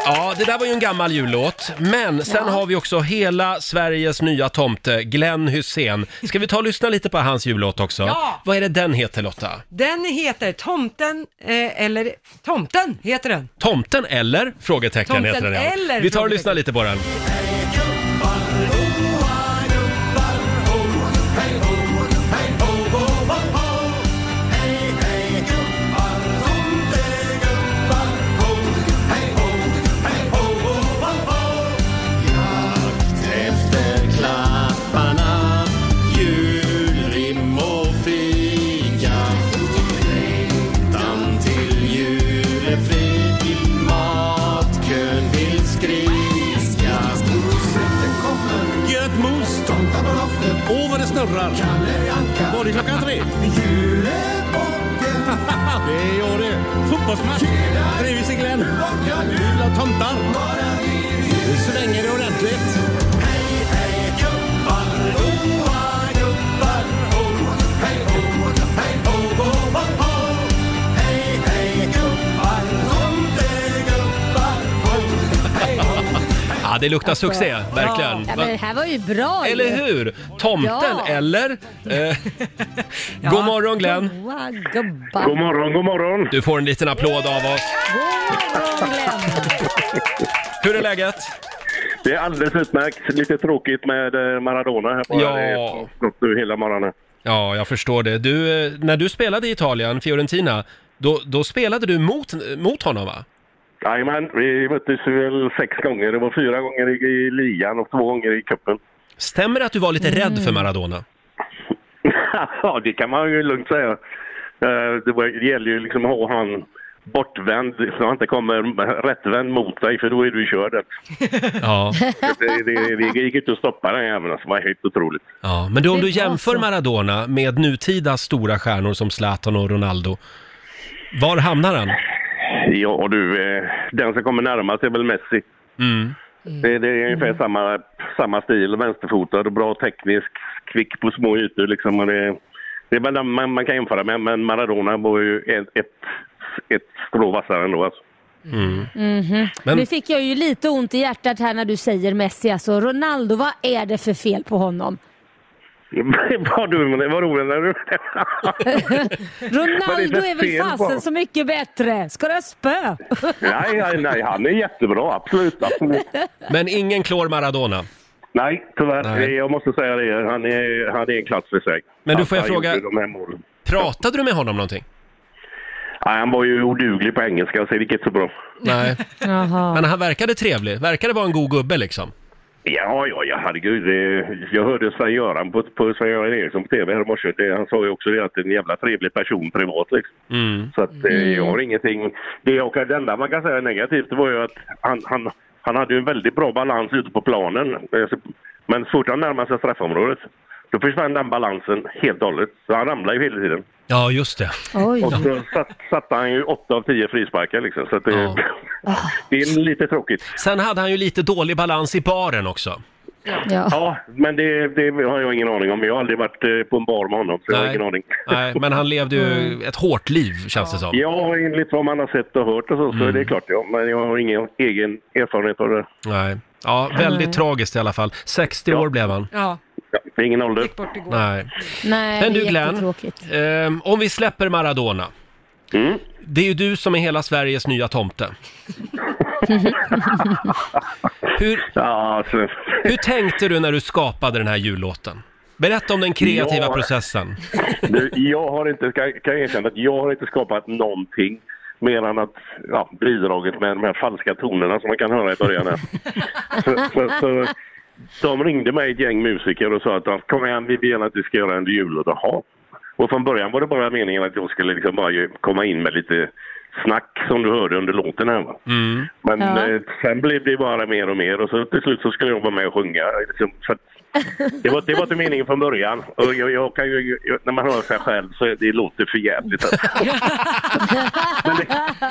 Ja, det där var ju en gammal jullåt. Men sen har vi också hela Sveriges nya tomte, Glenn Hussein. Ska vi ta och lyssna lite på hans jullåt också?
Ja!
Vad är det den heter Lotta?
Den heter Tomten, eh, eller Tomten heter den.
Tomten eller? Frågetecken
Tomten
heter den ja.
eller?
Vi tar och
Frågetecken.
lyssnar lite på den.
Efter klapparna, julrim och fika. Längtan till jul är fri, till matkön vill skrika. Götmos, åh vad det snurrar. Var det klockan tre? Det gör det. Fotbollsmatch. Trivs i Glenn. Jul och tomtar. Nu svänger det ordentligt.
Ja, det luktar
Alltså,
succé, verkligen.
Ja, men det här var ju bra ju.
Eller hur? Tomten
Ja.
eller? Eh, God morgon Glenn!
Goa gubbar.
morgon, god morgon! Du får en liten applåd av oss. Hur är läget?
Det är alldeles utmärkt. Lite tråkigt med eh, Maradona här bara.
Ja.
Det är gott nu hela morgonen.
Ja, jag förstår det. Du, eh, när du spelade i Italien, Fiorentina, då, då spelade du mot, mot honom va?
Jajamän, vi möttes väl sex gånger. Det var fyra gånger i, i ligan och två gånger i cupen.
Stämmer det att du var lite rädd för
Mm.
Maradona?
ja, det kan man ju lugnt säga. Eh, Det var- det gäller ju liksom att ha han bortvänd så han inte kommer rättvänd mot dig för då är du körd.
Ja.
Det, det, det gick inte att stoppa den jäveln. Alltså, det var helt otroligt.
ja. Men du, om
Det
du
var
jämför
så.
Maradona med nutida stora stjärnor som Zlatan och Ronaldo, var hamnar han?
Ja du, eh, den som kommer närmast är väl Messi.
Mm.
Det, det är
Mm.
ungefär samma, samma stil, vänsterfotad och bra teknisk, kvick på små ytor liksom. Och det, det är väl den man, man kan jämföra med, men Maradona var ju ett, ett, ett strå vassare ändå alltså.
Mhm.
Men-
Nu fick jag ju lite ont i hjärtat här när du säger Messi. Alltså Ronaldo, vad är det för fel på honom?
Vad du, vad roligt när du... Vad är det
Ronaldo
för
är väl
fel på
fasen
honom?
så mycket bättre. Ska du ha spö?
nej, nej, nej, han är jättebra, absolut. absolut.
Men ingen klår Maradona?
Nej, tyvärr. Eh, Jag måste säga det, han är, han är en klass för sig.
Men du, får jag
Att han
fråga-
gjorde De här målen.
Pratade du med honom någonting?
Nej, han var ju oduglig på engelska, så det gick inte så bra.
Nej. Men han verkade trevlig, verkade vara en god gubbe liksom.
Ja, ja, ja, herregud. det- Jag hörde Sven-Göran på, på Sven-Göran Eriksson på TV här i morse. Det- Han sa ju också det att det är en jävla trevlig person privat liksom. Så att eh, jag har ingenting... Det, och det enda man kan säga negativt det var ju att han, han, han hade ju en väldigt bra balans ute på planen. Eh, så- Men så fort han närmade sig straffområdet, då försvann den balansen helt och hållet. Så han ramlade ju hela tiden.
Ja, just det.
Och så satt, satte han ju 8 av 10 frisparkar liksom. Så att det, det är lite tråkigt.
Sen hade han ju lite dålig balans i baren också.
Ja, men det, det har jag ingen aning om. Jag har aldrig varit eh, på en bar med honom, så jag har ingen aning.
Nej, men han levde ju
Mm.
ett hårt liv känns det som.
Ja, enligt vad man har sett och hört och så, så är
Mm.
det klart. Ja, men jag har ingen egen erfarenhet av det.
Nej. Ja, väldigt
Nej.
tragiskt i alla fall. 60 år blev han.
Ja.
Det är ingen ålder.
Nej.
Nej,
Men
det
du
är
Glenn,
jättetråkigt.
ehm, om vi släpper Maradona.
Mm.
Det är ju du som är hela Sveriges nya tomte. Hur,
alltså.
hur tänkte du när du skapade den här jullåten? Berätta om den kreativa
Ja.
processen.
Du, jag har inte, ska- kan jag erkänna att jag har inte skapat någonting mer än att ja, bidraget med de här falska tonerna som man kan höra i början här. så, så, så, de ringde mig ett gäng musiker och sa att kom igen, vi vill att vi ska göra en jullåt. Jaha. Och från början var det bara meningen att jag skulle liksom bara ju- komma in med lite snack som du hörde under låten här. Va?
Mm.
Men
Ja.
eh, sen blev det bara mer och mer och så till slut så skulle jag vara med och sjunga. Liksom, så att det, var, det var inte meningen från början. Och jag, jag kan ju, jag, när man hör sig själv så är det låter för jävligt. alltså.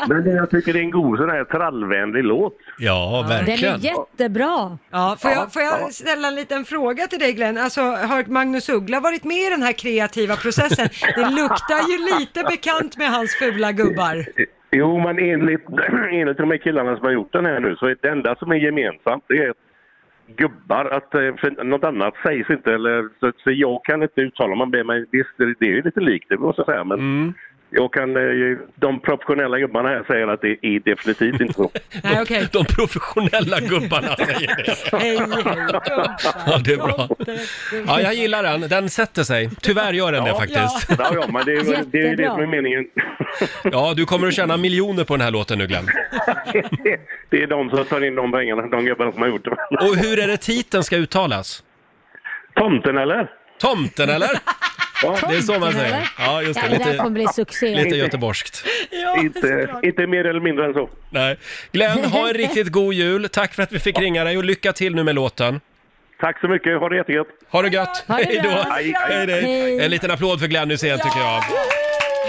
Men det, jag tycker det är en god sån här trallvänlig låt.
Ja,
Den är jättebra.
Ja, Får
Ja,
jag, får
ja.
jag ställa en liten fråga till dig Glenn? Alltså, har Magnus Uggla varit med i den här kreativa processen? Det luktar ju lite bekant med hans fula gubbar.
Jo, men enligt, enligt de här killarna som har gjort den här nu så är det enda som är gemensamt det är att gubbar, att eh, för något annat sägs inte. Eller, så, så jag kan inte uttala mig om det, men visst, det, det är ju lite likt det måste jag säga. Men
Mm.
jag kan, eh, de professionella gubbarna här säger att det är definitivt inte så.
Nej, okej.
De professionella gubbarna säger det.
Hej,
Ja, det är bra. Ja, jag gillar den. Den sätter sig. Tyvärr gör den det faktiskt.
Ja, ja, men det är väl- det är ju det som är meningen.
Ja, du kommer att tjäna miljoner på den här låten nu Glenn.
Det är de som tar in de pengarna, de gubbarna som har gjort det.
Och hur är det titeln ska uttalas?
Tomten eller?
Tomten eller? Det är så man
Tomten,
säger.
eller?
Ja, just det.
Ja, det där kommer bli succé.
lite göteborgskt.
inte, inte mer eller mindre än så.
Nej. Glenn, ha en riktigt god jul. Tack för att vi fick ringa dig och lycka till nu med låten.
Tack så mycket, ha det jättegött.
Ha det gött.
Ha det
Hej då.
bra. Hej, hej.
Hej, hej. En liten applåd för Glenn Hysén tycker jag.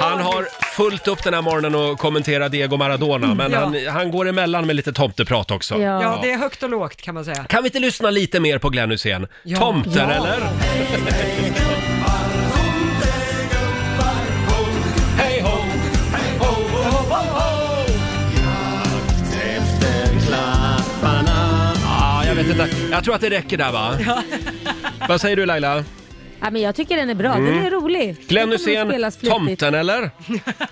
Han har fullt upp den här morgonen och kommenterar Diego Maradona, men
Ja.
han, han går emellan med lite tomteprat också.
Ja, det är högt och lågt kan man säga.
Kan vi inte lyssna lite mer på Glenn Hysén? Tomten
Ja.
eller? Hej ho!
Hej ho, ho, ho, ho! Jakt efter klapparna
Ah, jag vet riktigt där. Jag tror att det räcker där va? Vad säger du Laila?
Ja, men jag tycker den är bra, den
Mm.
är rolig. Den
Glenn
kommer att
Hysén,
spelas flitigt.
Tomten eller?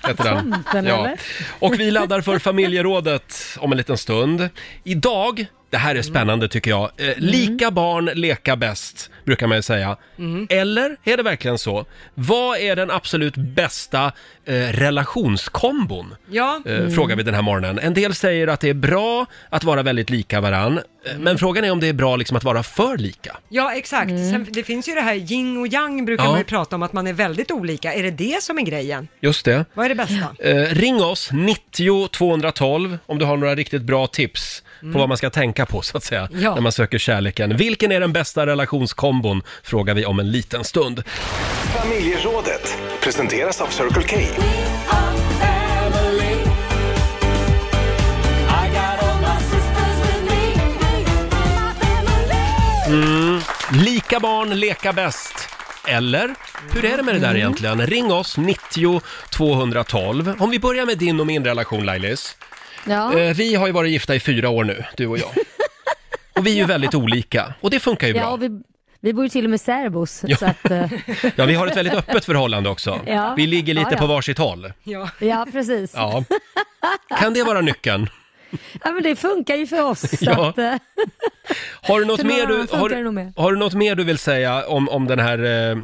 Heter den.
Tomten, eller?
Och vi laddar för familjerådet om en liten stund. Idag, det här
Mm.
är spännande tycker jag, eh, lika barn leka bäst brukar man ju säga.
Mm.
Eller är det verkligen så? Vad är den absolut bästa eh, relationskombon?
Ja.
Mm.
eh, frågar vi den här morgonen. En del säger att det är bra att vara väldigt lika varann, eh,
Mm.
men frågan är om det är bra liksom att vara för lika.
Ja, exakt. Sen, det finns ju det här yin och yang brukar
Ja.
man ju prata om, att man är väldigt olika. Är det det som är grejen?
Just det.
Vad är det bästa?
Eh, ring oss, 90 212, om du har några riktigt bra tips
Mm.
på vad man ska tänka på så att säga,
Ja.
när man söker kärleken. Vilken är den bästa relationskombon? Frågar vi om en liten stund.
Familjerådet presenteras av Circle K.
Mm. Lika barn leka bäst. Eller? Hur är det med det
Mm.
där egentligen? Ring oss, 90 212. Om vi börjar med din och min relation Lailis.
Ja.
Eh, vi har ju varit gifta i fyra år nu, du och jag. Och vi är ju väldigt olika, och det funkar ju bra.
ja, och vi, vi bor ju till och med särbos.
Ja.
Så att, eh,
Ja, vi har ett väldigt öppet förhållande också.
Ja.
Vi ligger lite
Ja, ja.
på varsitt håll.
ja.
precis. Ja.
Ja. Kan det vara nyckeln?
men det funkar ju för oss. Så
Ja.
att, eh,
Har du, något
För
mer
någon
du,
annan funkar det nog med.
har, har du något mer du vill säga om, om den här eh, eh,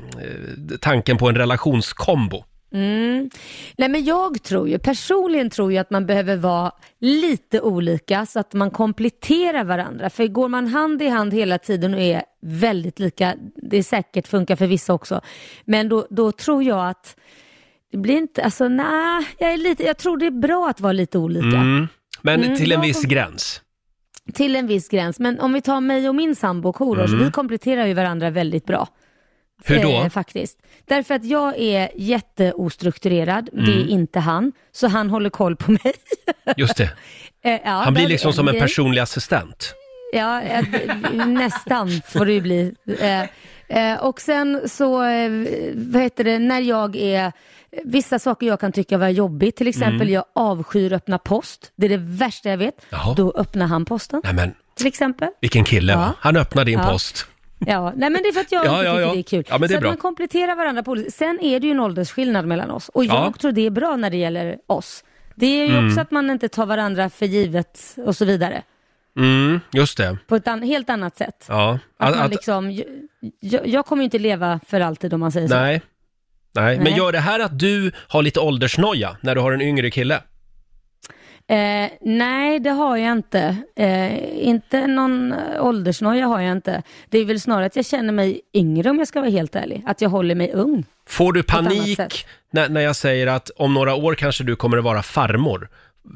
tanken på en relationskombo?
Mm. Nej men jag tror ju, personligen tror jag att man behöver vara lite olika så att man kompletterar varandra. För går man hand i hand hela tiden och är väldigt lika, det är säkert funkar för vissa också, men då, då tror jag att det blir inte, alltså nej, jag, är lite, jag tror det är bra att vara lite olika.
Mm. Men
Mm,
till en
jag
viss
kom-
gräns.
Till en viss gräns, men om vi tar mig och min sambo Korosh,
Mm.
vi kompletterar ju varandra väldigt bra. Eh,
Hur då?
faktiskt. Därför att jag är jätteostrukturerad, det är
Mm.
inte han, så han håller koll på mig.
Just det.
Eh, ja,
Han blir
där är
liksom som en
grej.
personlig assistent.
Ja, eh, nästan får det ju bli. Eh, eh, och sen så, eh, vad heter det, när jag är, vissa saker jag kan tycka var jobbigt, till exempel
Mm.
jag avskyr öppna post, det är det värsta jag vet,
Jaha.
då öppnar han posten.
Nej men,
Till exempel.
vilken kille va?
Ja.
Han öppnar din
Ja.
post.
Ja, nej men det är för att jag
Ja,
inte tycker
ja, ja.
det är kul.
Ja, men det är
så
bra.
att man kompletterar varandra på olika Sen är det ju en åldersskillnad mellan oss och jag
Ja.
tror det är bra när det gäller oss. Det är ju
Mm.
också att man inte tar varandra för givet och så vidare.
Mm, just det.
På ett an- helt annat sätt.
Ja.
Att,
Att-
man
att-
liksom, jag, jag kommer ju inte leva för alltid om man säger så.
nej. nej, men
Nej.
gör det här att du har lite åldersnoja när du har en yngre kille?
Eh, nej, det har jag inte. Eh, inte någon eh, åldersnoja har jag inte. Det är väl snarare att jag känner mig yngre om jag ska vara helt ärlig. Att jag håller mig ung.
Får du
På ett annat
panik
sätt.
när, när jag säger att om några år kanske du kommer att vara farmor?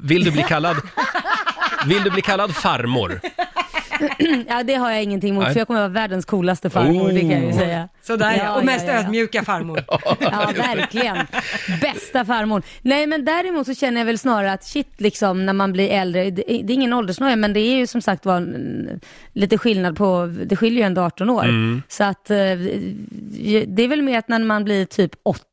Vill du bli kallad, vill du bli kallad farmor?
ja, det har jag ingenting emot,
Nej.
för jag kommer vara världens coolaste farmor, det kan jag ju
Oh.
säga.
Sådär ja, och mest
ja, ja.
ödmjuka farmor.
Ja, verkligen. Bästa farmor. Nej, men däremot så känner jag väl snarare att shit, liksom när man blir äldre, det, det är ingen åldersnoja, men det är ju som sagt var en- lite skillnad på, det skiljer ju ändå 18 år.
Mm.
Så att eh, det är väl mer att när man blir typ 80,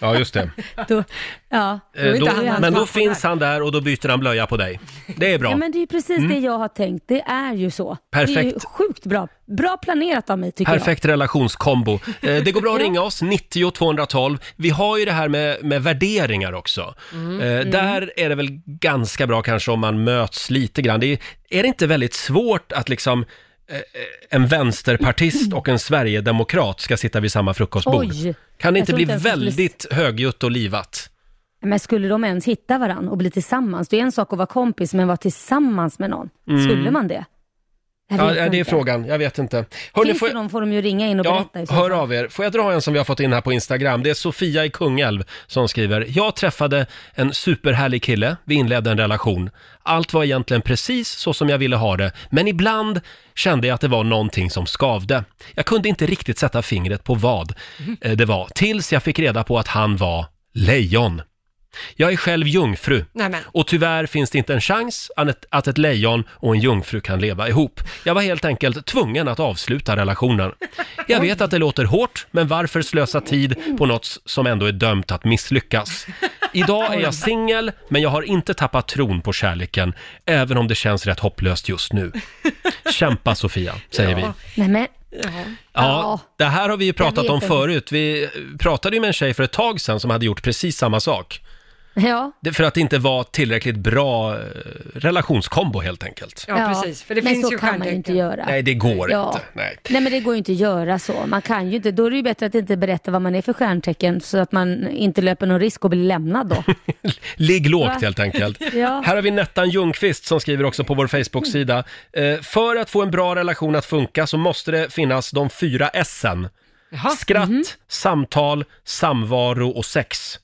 Ja, just det.
då, ja.
Eh,
är
då,
han hans
men då
pappa
finns
där.
han där och då byter han blöja på dig. Det är bra.
Ja, men det är ju precis
Mm.
det jag har tänkt. Det är ju så. Det är ju
Perfekt.
sjukt bra. Bra planerat av mig tycker jag.
Perfekt relationskombo. Eh, det går bra att ringa oss, 90 212. Vi har ju det här med, med värderingar också.
Mm.
Eh,
Mm.
Där är det väl ganska bra kanske om man möts lite grann. Det är, är det inte väldigt svårt att liksom eh, eh, en vänsterpartist och en sverigedemokrat ska sitta vid samma frukostbord?
Oj.
Kan det
Jag
inte
tror
bli
inte ens det skulle-
väldigt högljutt och livat?
Men skulle de ens hitta varandra och bli tillsammans? Det är en sak att vara kompis, men vara tillsammans med någon.
Mm.
Skulle man det? Jag
Ja,
vet
det är
inte.
frågan, jag vet inte.
Finns
får
det
jag-
någon får de ju ringa in och
Ja,
berätta. i så
hör
fall.
av er. Får jag dra en som vi har fått in här på Instagram? Det är Sofia i Kungälv som skriver. Jag träffade en superhärlig kille. Vi inledde en relation. Allt var egentligen precis så som jag ville ha det, men ibland kände jag att det var någonting som skavde. Jag kunde inte riktigt sätta fingret på vad eh, det var, tills jag fick reda på att han var lejon. Jag är själv jungfru.
Nej, men.
Och tyvärr finns det inte en chans an- ett- att ett lejon och en jungfru kan leva ihop. Jag var helt enkelt tvungen att avsluta relationen. Jag vet att det låter hårt, men varför slösa tid på något som ändå är dömt att misslyckas? Idag är jag singel, men jag har inte tappat tron på kärleken, även om det känns rätt hopplöst just nu. Kämpa Sofia, säger vi.
Nej men.
Ja, det här har vi ju pratat
vet
om
inte.
förut. Vi pratade ju med en tjej för ett tag sedan som hade gjort precis samma sak.
Ja.
Det för att det inte var tillräckligt bra eh, relationskombo helt enkelt.
Ja, precis. För det
men
finns
så
ju
kan man ju inte göra.
Nej, det går
Ja.
inte. Nej.
Nej men det går ju inte att göra så. Man kan ju inte, då är det ju bättre att inte berätta vad man är för stjärntecken så att man inte löper någon risk att bli lämnad då.
Ligg
Va?
lågt helt enkelt.
Ja.
Här har vi Nettan Ljungqvist som skriver också på vår Facebook-sida.
Mm.
Eh, för att få en bra relation att funka så måste det finnas de fyra S'en. Skratt,
Mhm.
samtal, samvaro och sex.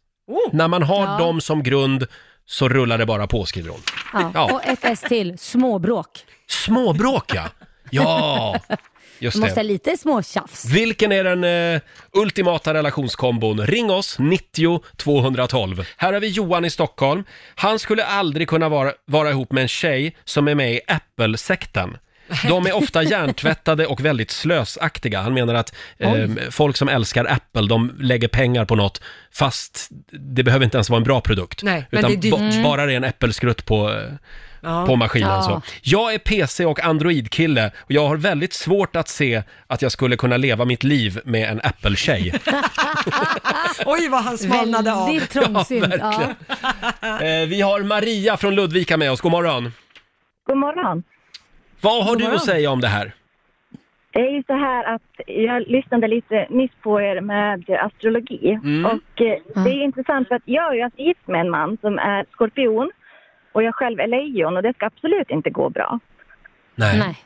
När man har
Oh. Ja.
dem som grund så rullar det bara på, skriver hon.
Ja.
Ja.
Och ett S till, småbråk.
Småbråk ja! Ja, just
Måste ha
det.
lite småtjafs.
Vilken är den eh, ultimata relationskombon? Ring oss, 90 212. Här har vi Johan i Stockholm. Han skulle aldrig kunna vara, vara ihop med en tjej som är med i Apple-sekten. De är ofta hjärntvättade och väldigt slösaktiga. Han menar att eh, folk som älskar Apple, de lägger pengar på något fast det behöver inte ens vara en bra produkt.
Nej, men
utan
det är dyrt.
ba-
Mm.
bara det är en äppelskrutt på, eh,
Ja.
på maskinen.
Ja.
Så. Jag är PC och Android-kille och jag har väldigt svårt att se att jag skulle kunna leva mitt liv med en Apple-tjej.
Oj, vad han smalnade av.
Väldigt trångsynt.
Ja, verkligen. eh, vi har Maria från Ludvika med oss, god morgon.
God morgon.
Vad har
God
du
morgon.
att säga om det här?
Det är ju så här att jag lyssnade lite nyss på er med astrologi.
Mm.
Och eh, det är intressant för att jag är ju alltså gift med en man som är skorpion och jag själv är lejon och det ska absolut inte gå bra.
Nej.
Nej.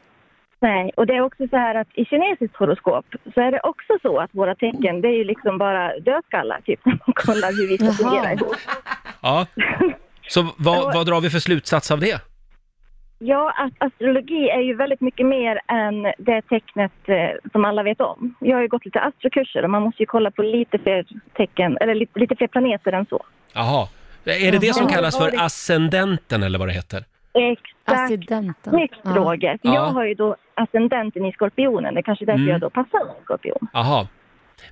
Nej, och det är också så här att i kinesiskt horoskop så är det också så att våra tecken det är ju liksom bara dödskallar typ när man kollar hur vi ska fungera ihop.
Ja. Så vad, vad drar vi för slutsats av det?
Ja, att astrologi är ju väldigt mycket mer än det tecknet eh, som alla vet om. Jag har ju gått lite astrokurser och man måste ju kolla på lite fler tecken, eller lite, lite fler planeter än så.
Jaha. Är det det som
Jaha.
kallas för ascendenten eller vad det heter?
Exakt. Snyggt
Ja.
Roger.
Ja.
Jag har ju då ascendenten i skorpionen, det är kanske därför
Mm.
jag då passar med skorpion.
Jaha.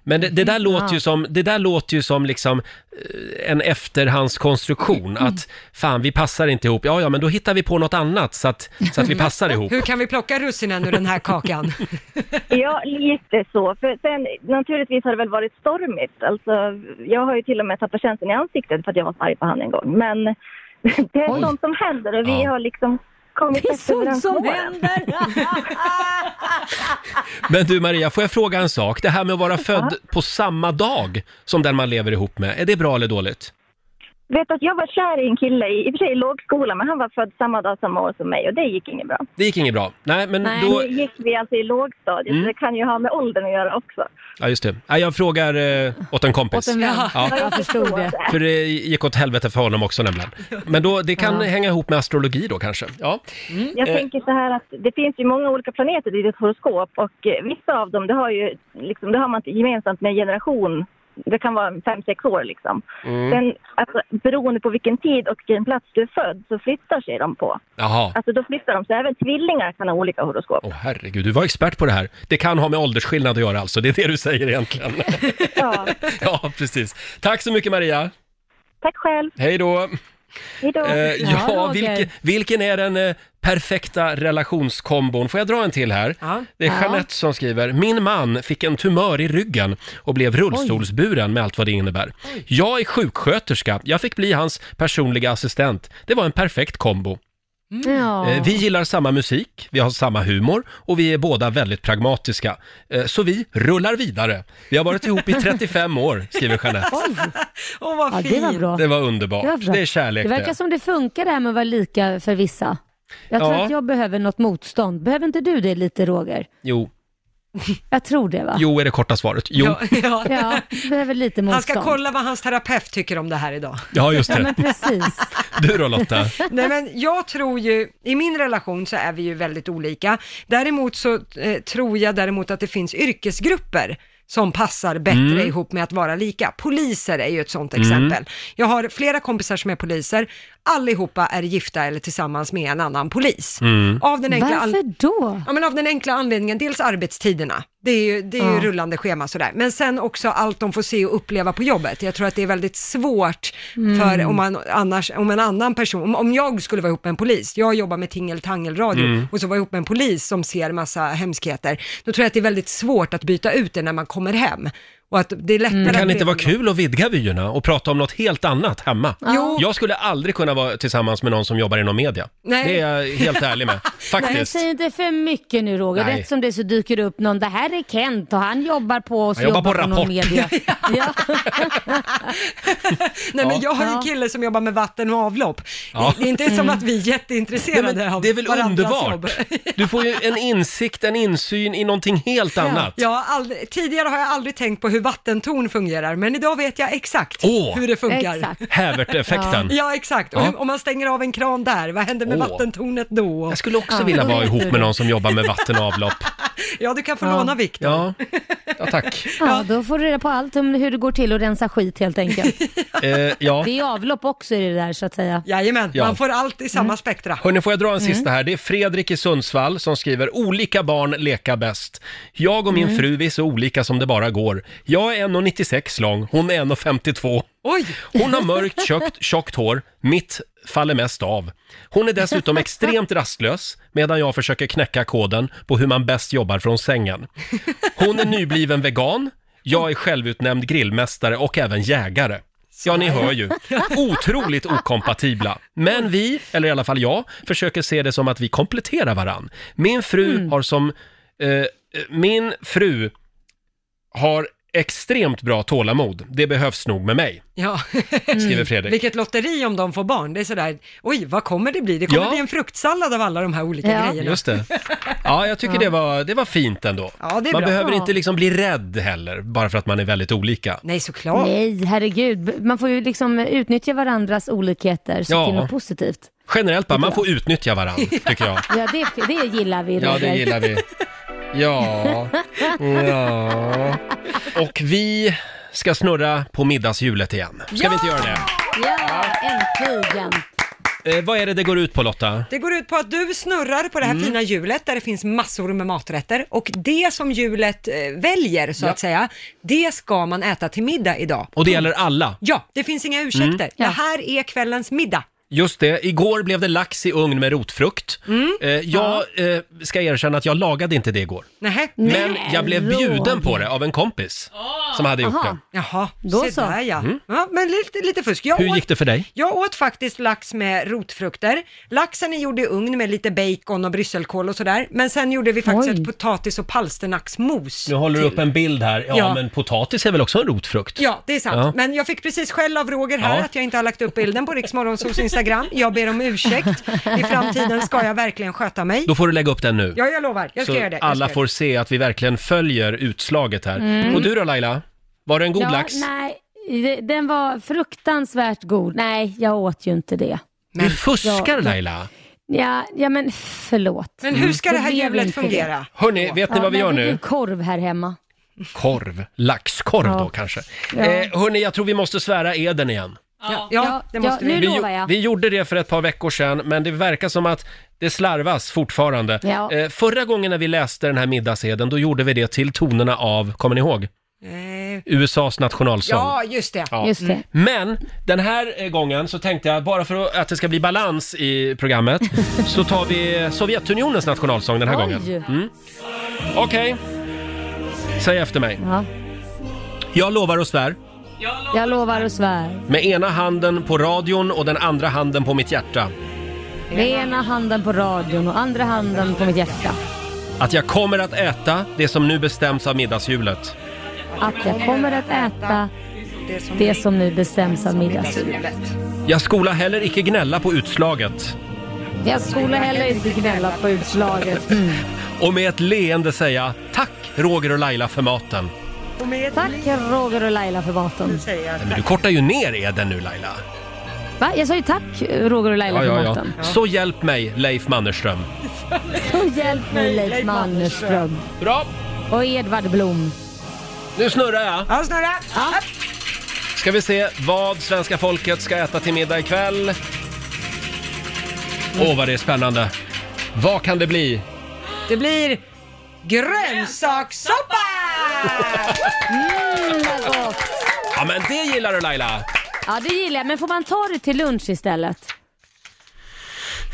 Men det, det, där låter
Ja.
ju som, det där låter ju som liksom eh, en efterhandskonstruktion. Att fan, vi passar inte ihop. Ja, ja, men då hittar vi på något annat så att, så att vi passar ihop.
Hur kan vi plocka russinen ur den här kakan?
Ja, lite så. För sen, naturligtvis har det väl varit stormigt. Alltså, jag har ju till och med tappat känslan i ansiktet för att jag var så arg på han en gång. Men det är sånt som händer och vi
Ja.
har liksom kommit
Det är
bäst
sånt
överens
som
med åren.
Men du Maria, får jag fråga en sak? Det här med att vara född på samma dag som den man lever ihop med, är det bra eller dåligt?
Vet att jag var kär i en kille, i, i och för sig i lågskolan, men han var född samma dag, samma år som mig och det gick inget bra.
Det gick inget bra. Nej, men då...
Nu gick vi alltså i lågstadiet,
Mm.
så det kan ju ha med åldern att göra också.
Ja, just det. Nej, jag frågar eh, åt en kompis. Ja.
Jag förstod
Mm.
det.
För det gick åt helvete för honom också nämligen. Men då, det kan
Ja.
hänga ihop med astrologi då kanske? Ja.
Jag
Eh.
tänker så här att det finns ju många olika planeter i ditt horoskop och eh, vissa av dem, det har, ju, liksom, det har man inte gemensamt med generation. Det kan vara fem sex år liksom.
Mm.
Sen, alltså, beroende på vilken tid och vilken plats du är född så flyttar sig de på.
Jaha.
Alltså då flyttar de, så även tvillingar kan ha olika horoskop.
Åh herregud, du var expert på det här. Det kan ha med åldersskillnad att göra alltså, det är det du säger egentligen.
Ja.
ja, precis. Tack så mycket Maria.
Tack själv,
Hej då.
hejdå!
Eh, ja, vilken, vilken är den eh, perfekta relationskombon? Får jag dra en till här? Det är
Ja.
Jeanette som skriver. Min man fick en tumör i ryggen och blev rullstolsburen med allt vad det innebär. Jag är sjuksköterska. Jag fick bli hans personliga assistent. Det var en perfekt kombo.
Ja.
Eh, Vi gillar samma musik, vi har samma humor och vi är båda väldigt pragmatiska. Eh, Så vi rullar vidare. Vi har varit ihop i 35 år, skriver Jeanette.
Åh, vad
Ja,
fint.
det var bra.
Det var underbart.
Det var bra.
Det är kärlek
Det verkar
det.
som det funkar det här med att vara lika för vissa. Jag tror
Ja.
att jag behöver något motstånd. Behöver inte du det lite Roger?
Jo,
Jag tror det va?
jo är det korta svaret. Jo,
Ja.
Ja, behöver lite motstånd.
Han ska kolla vad hans terapeut tycker om det här idag.
ja just
Ja men
det.
precis.
Du då Lotta?
Nej men jag tror ju, i min relation så är vi ju väldigt olika. Däremot så eh, tror jag däremot att det finns yrkesgrupper som passar bättre
Mm.
ihop med att vara lika. Poliser är ju ett sånt exempel. Jag har flera kompisar som är poliser. allihopa är gifta eller tillsammans med en annan polis.
Mm.
Av den enkla an-
Varför då?
Ja, men av den enkla anledningen, dels arbetstiderna. Det är ju, det är ju
Ja.
rullande schema sådär. Men sen också allt de får se och uppleva på jobbet. Jag tror att det är väldigt svårt
Mm.
för om, man annars, om en annan person, om, om jag skulle vara ihop med en polis, jag jobbar med tingeltangelradio
Mm.
och så var jag ihop med en polis som ser massa hemskheter. Då tror jag att det är väldigt svårt att byta ut det när man kommer hem. Och att det är lättare
Men kan
att
Mm. det inte vara kul att vidga vyerna och prata om något helt annat hemma?
Jo.
Jag skulle aldrig kunna vara tillsammans med någon som jobbar inom media.
Nej.
Det är jag helt ärlig med.
Nej,
Faktiskt.
säg inte för mycket nu Roger.
Nej.
Rätt som det så dyker det upp någon. Det här är Kent och han jobbar på oss.
Han jobbar på
någon
Rapport.
media. ja.
Nej,
Ja.
men jag har
Ja.
en kille som jobbar med vatten och avlopp.
Ja.
Det är inte som
Mm.
att vi är jätteintresserade
Nej, men
av
det är väl
varandras jobb.
underbart? Du får ju en insikt, en insyn i någonting helt annat.
Ja, jag har aldrig, tidigare har jag aldrig tänkt på hur vattentorn fungerar, men idag vet jag exakt
Åh!
hur det funkar.
Exakt. Häverteffekten.
Ja, ja exakt. Och
Ja.
hur- om man stänger av en kran där, vad händer med
Åh.
vattentornet då? Jag
skulle också vilja vara ihop med någon som jobbar med vatten och avlopp.
Ja, du kan få låna Viktor.
Ja, ja tack.
ja, då får du reda på allt om hur det går till att rensa skit helt enkelt.
Eh, ja.
Det är avlopp också i det där så att säga.
Jajamän,
Ja. Mm. man får
allt i samma spektra.
Hörni, får jag dra en
Mm.
sista här? Det är Fredrik i Sundsvall som skriver “Olika barn leka bäst. Jag och min
Mm.
fru vi är så olika som det bara går. Jag är 1,96 lång, hon är 1,52.
Oj!
Hon har mörkt, tjockt, tjockt hår. Mitt faller mest av. Hon är dessutom extremt rastlös medan jag försöker knäcka koden på hur man bäst jobbar från sängen. Hon är nybliven vegan. Jag är självutnämnd grillmästare och även jägare. Ja, ni hör ju. Otroligt okompatibla. Men vi, eller i alla fall jag, försöker se det som att vi kompletterar varann. Min fru har som... Eh, min fru har extremt bra tålamod. Det behövs nog med mig.
Ja. Mm.
Skriver Fredrik.
Vilket lotteri om de får barn. Det är sådär, oj, vad kommer det bli? Det kommer
Ja.
bli en fruktsallad av alla de här olika grejerna.
Just det. Ja, jag tycker
Ja.
Det, var, det var fint ändå.
Ja, det är
man
bra.
behöver
Ja.
inte liksom bli rädd heller, bara för att man är väldigt olika.
Nej, såklart.
Nej, herregud. Man får ju liksom utnyttja varandras olikheter så
Ja.
till något positivt.
Generellt bara, man får utnyttja varandra, tycker jag.
Ja, det, det gillar vi
Ja,
Roger.
det gillar vi. Ja, ja. Och vi ska snurra på middagshjulet igen. Ska vi inte göra det?
Ja, äntligen.
Eh, vad är det det går ut på Lotta?
Det går ut på att du snurrar på det här
Mm.
fina hjulet där det finns massor med maträtter och det som hjulet eh, väljer så
Ja.
att säga, det ska man äta till middag idag.
Och det gäller alla.
Ja, det finns inga ursäkter.
Mm.
Det här är kvällens middag.
Just det, igår blev det lax i ugn med rotfrukt.
Mm.
Eh, jag eh, ska erkänna att jag lagade inte det igår.
Nähä.
Men jag blev bjuden på det av en kompis som hade gjort det.
Jaha,
Då
se
så.
där ja.
Mm.
ja. Men lite, lite fusk. Jag
Hur
åt-
gick det för dig?
Jag åt faktiskt lax med rotfrukter. Laxen är gjord i ugn med lite bacon och brysselkål och sådär. Men sen gjorde vi faktiskt ett potatis och palsternacksmos.
Nu håller du upp en bild här. Ja,
Ja.
men potatis är väl också en rotfrukt?
Ja, det är sant.
Ja.
Men jag fick precis skäll av Roger här
Ja.
att jag inte har lagt upp bilden på Riksmorgonsols Instagram. Jag ber om ursäkt. I framtiden ska jag verkligen sköta mig.
Då får du lägga upp den nu.
Ja, jag lovar. Jag ska
så
göra det. Jag ska
alla
göra
får se att vi verkligen följer utslaget här.
Mm.
Och du då Laila? Var det en god
ja,
lax?
Nej, det- den var fruktansvärt god. Nej, jag åt ju inte det.
Du fuskar
Ja,
Laila!
Ja, ja men förlåt.
Men hur ska det här
blev
hjulet
inte
fungera?
Hörni, vet ni
Ja,
vad
men
vi gör
det blir
nu?
korv här hemma.
Korv. Laxkorv då kanske.
Ja.
Eh, hörni, jag tror vi måste svära eden igen.
Ja, ja, det måste vi.
Nu
Vi,
lovar
gjo-
jag.
vi gjorde det för ett par veckor sedan, men det verkar som att det slarvas fortfarande.
Ja.
Eh, förra gången när vi läste den här middagseden, då gjorde vi det till tonerna av, kommer ni ihåg?
Eh,
USAs nationalsång.
Ja, just det.
Ja. Mm. Men den här eh, gången så tänkte jag, bara för att- att det ska bli balans i programmet, så tar vi Sovjetunionens nationalsång den här
Oj.
gången. Mm. Okej, säg efter mig.
Ja.
Jag lovar och svär,
Jag lovar och svär.
med ena handen på radion och den andra handen på mitt hjärta,
Med ena handen på radion och andra handen på mitt hjärta.
att jag kommer att äta det som nu bestäms av middagshjulet.
Att jag kommer att äta det som nu bestäms av middagshjulet.
Jag skola heller icke gnälla på utslaget
Jag skola heller inte gnälla på utslaget.
och med ett leende säga tack Roger och Laila för maten.
Tack Roger och Laila för maten.
Nej, Men du kortar ju ner eden nu Laila.
Va? Jag sa ju tack Roger och Laila för maten.
Så hjälp mig, Leif Mannerström.
Så hjälp mig Leif Mannerström.
Bra.
Och Edvard Blom.
Nu snurrar jag.
Ja, snurra!
Ska vi se vad svenska folket ska äta till middag ikväll. Åh, vad det är spännande. Vad kan det bli?
Det blir grönsakssoppa!
Mm, vad gott.
Ja, men det gillar du Laila!
Ja, det gillar jag. Men får man ta det till lunch istället?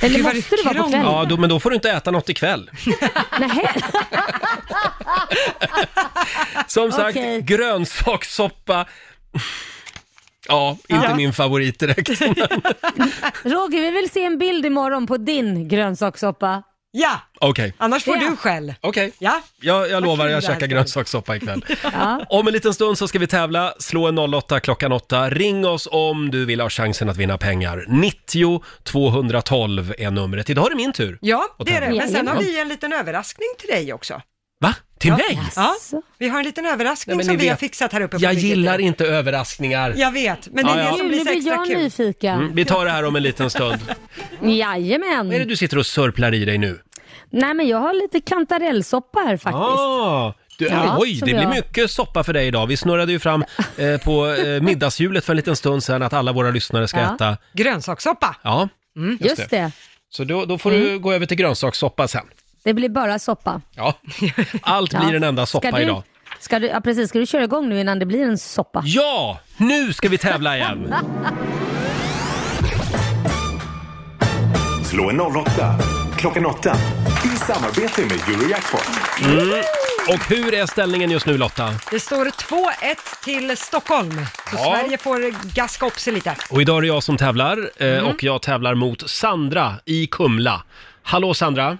Eller
Gud, vad
måste det vara på kvällen?
Ja, då, men då får du inte äta något ikväll. Som sagt,
Okej.
grönsakssoppa. Ja, inte
Ja.
min favorit direkt.
Roger, vi vill se en bild imorgon på din grönsakssoppa.
Ja!
Okej,
Annars får
Ja.
du skäll.
Okej.
Ja.
jag, jag lovar,
kul
jag
det
käkar
här.
grönsakssoppa ikväll.
Ja.
Om en liten stund så ska vi tävla. Slå en 08 klockan 8. Ring oss om du vill ha chansen att vinna pengar. 90 212 är numret. Idag är det min tur.
Ja,
Och
det är det.
tävla.
Men sen har
Ja.
vi en liten överraskning till dig också.
Va? Till mig?
Ja, vi har en liten
Nej,
överraskning
men
som
ni
vi har
vet,
fixat här uppe på
Jag
bygget.
gillar inte överraskningar.
Jag vet, men det
Ja,
är
ja.
det som blir så
blir
extra
jag
kul.
nyfiken.
Mm, vi tar det här om en liten stund. Mm.
Jajamän.
Vad är det du sitter och sörplar i dig nu?
Nej, men jag har lite kantarellsoppa här faktiskt.
Ah, du,
Ja,
oj, det
som
blir
jag.
mycket soppa för dig idag. Vi snurrade ju fram eh, på eh, middagshjulet för en liten stund sedan att alla våra lyssnare ska
Ja.
äta.
Grönsakssoppa.
Ja,
Just, det. det.
Så då, då får
Mm.
du gå över till grönsakssoppa sen.
blir bara soppa.
Ja. Allt
Ja.
blir en enda
Ska
soppa
du,
idag.
Ska du, ja, precis. Ska du köra igång nu innan det blir en soppa?
Ja, nu ska vi tävla igen.
Slå en 08 klockan 8 i samarbete med Eurojackpot.
Mm. Och hur är ställningen just nu Lotta?
Det står 2-1 till Stockholm, så
Ja.
Sverige får gaska upp sig lite.
Och idag är det jag som tävlar eh,
Mm.
och jag tävlar mot Sandra i Kumla. Hallå Sandra!